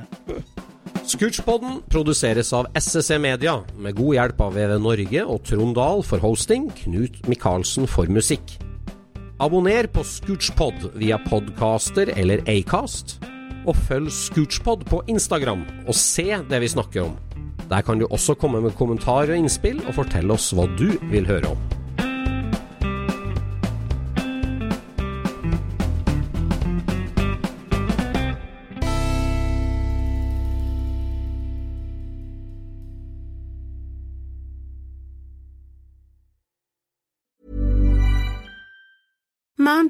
Scootspodden produseres av SSE Media, med god hjelp av VV Norge og Trond Dahl for hosting, Knut Micaelsen for musikk. Abonner på Scootspod via podcaster eller Acast, og følg Scootspod på Instagram og se det vi snakker om. Der kan du også komme med kommentarer og innspill, og fortelle oss hva du vil høre om. Mom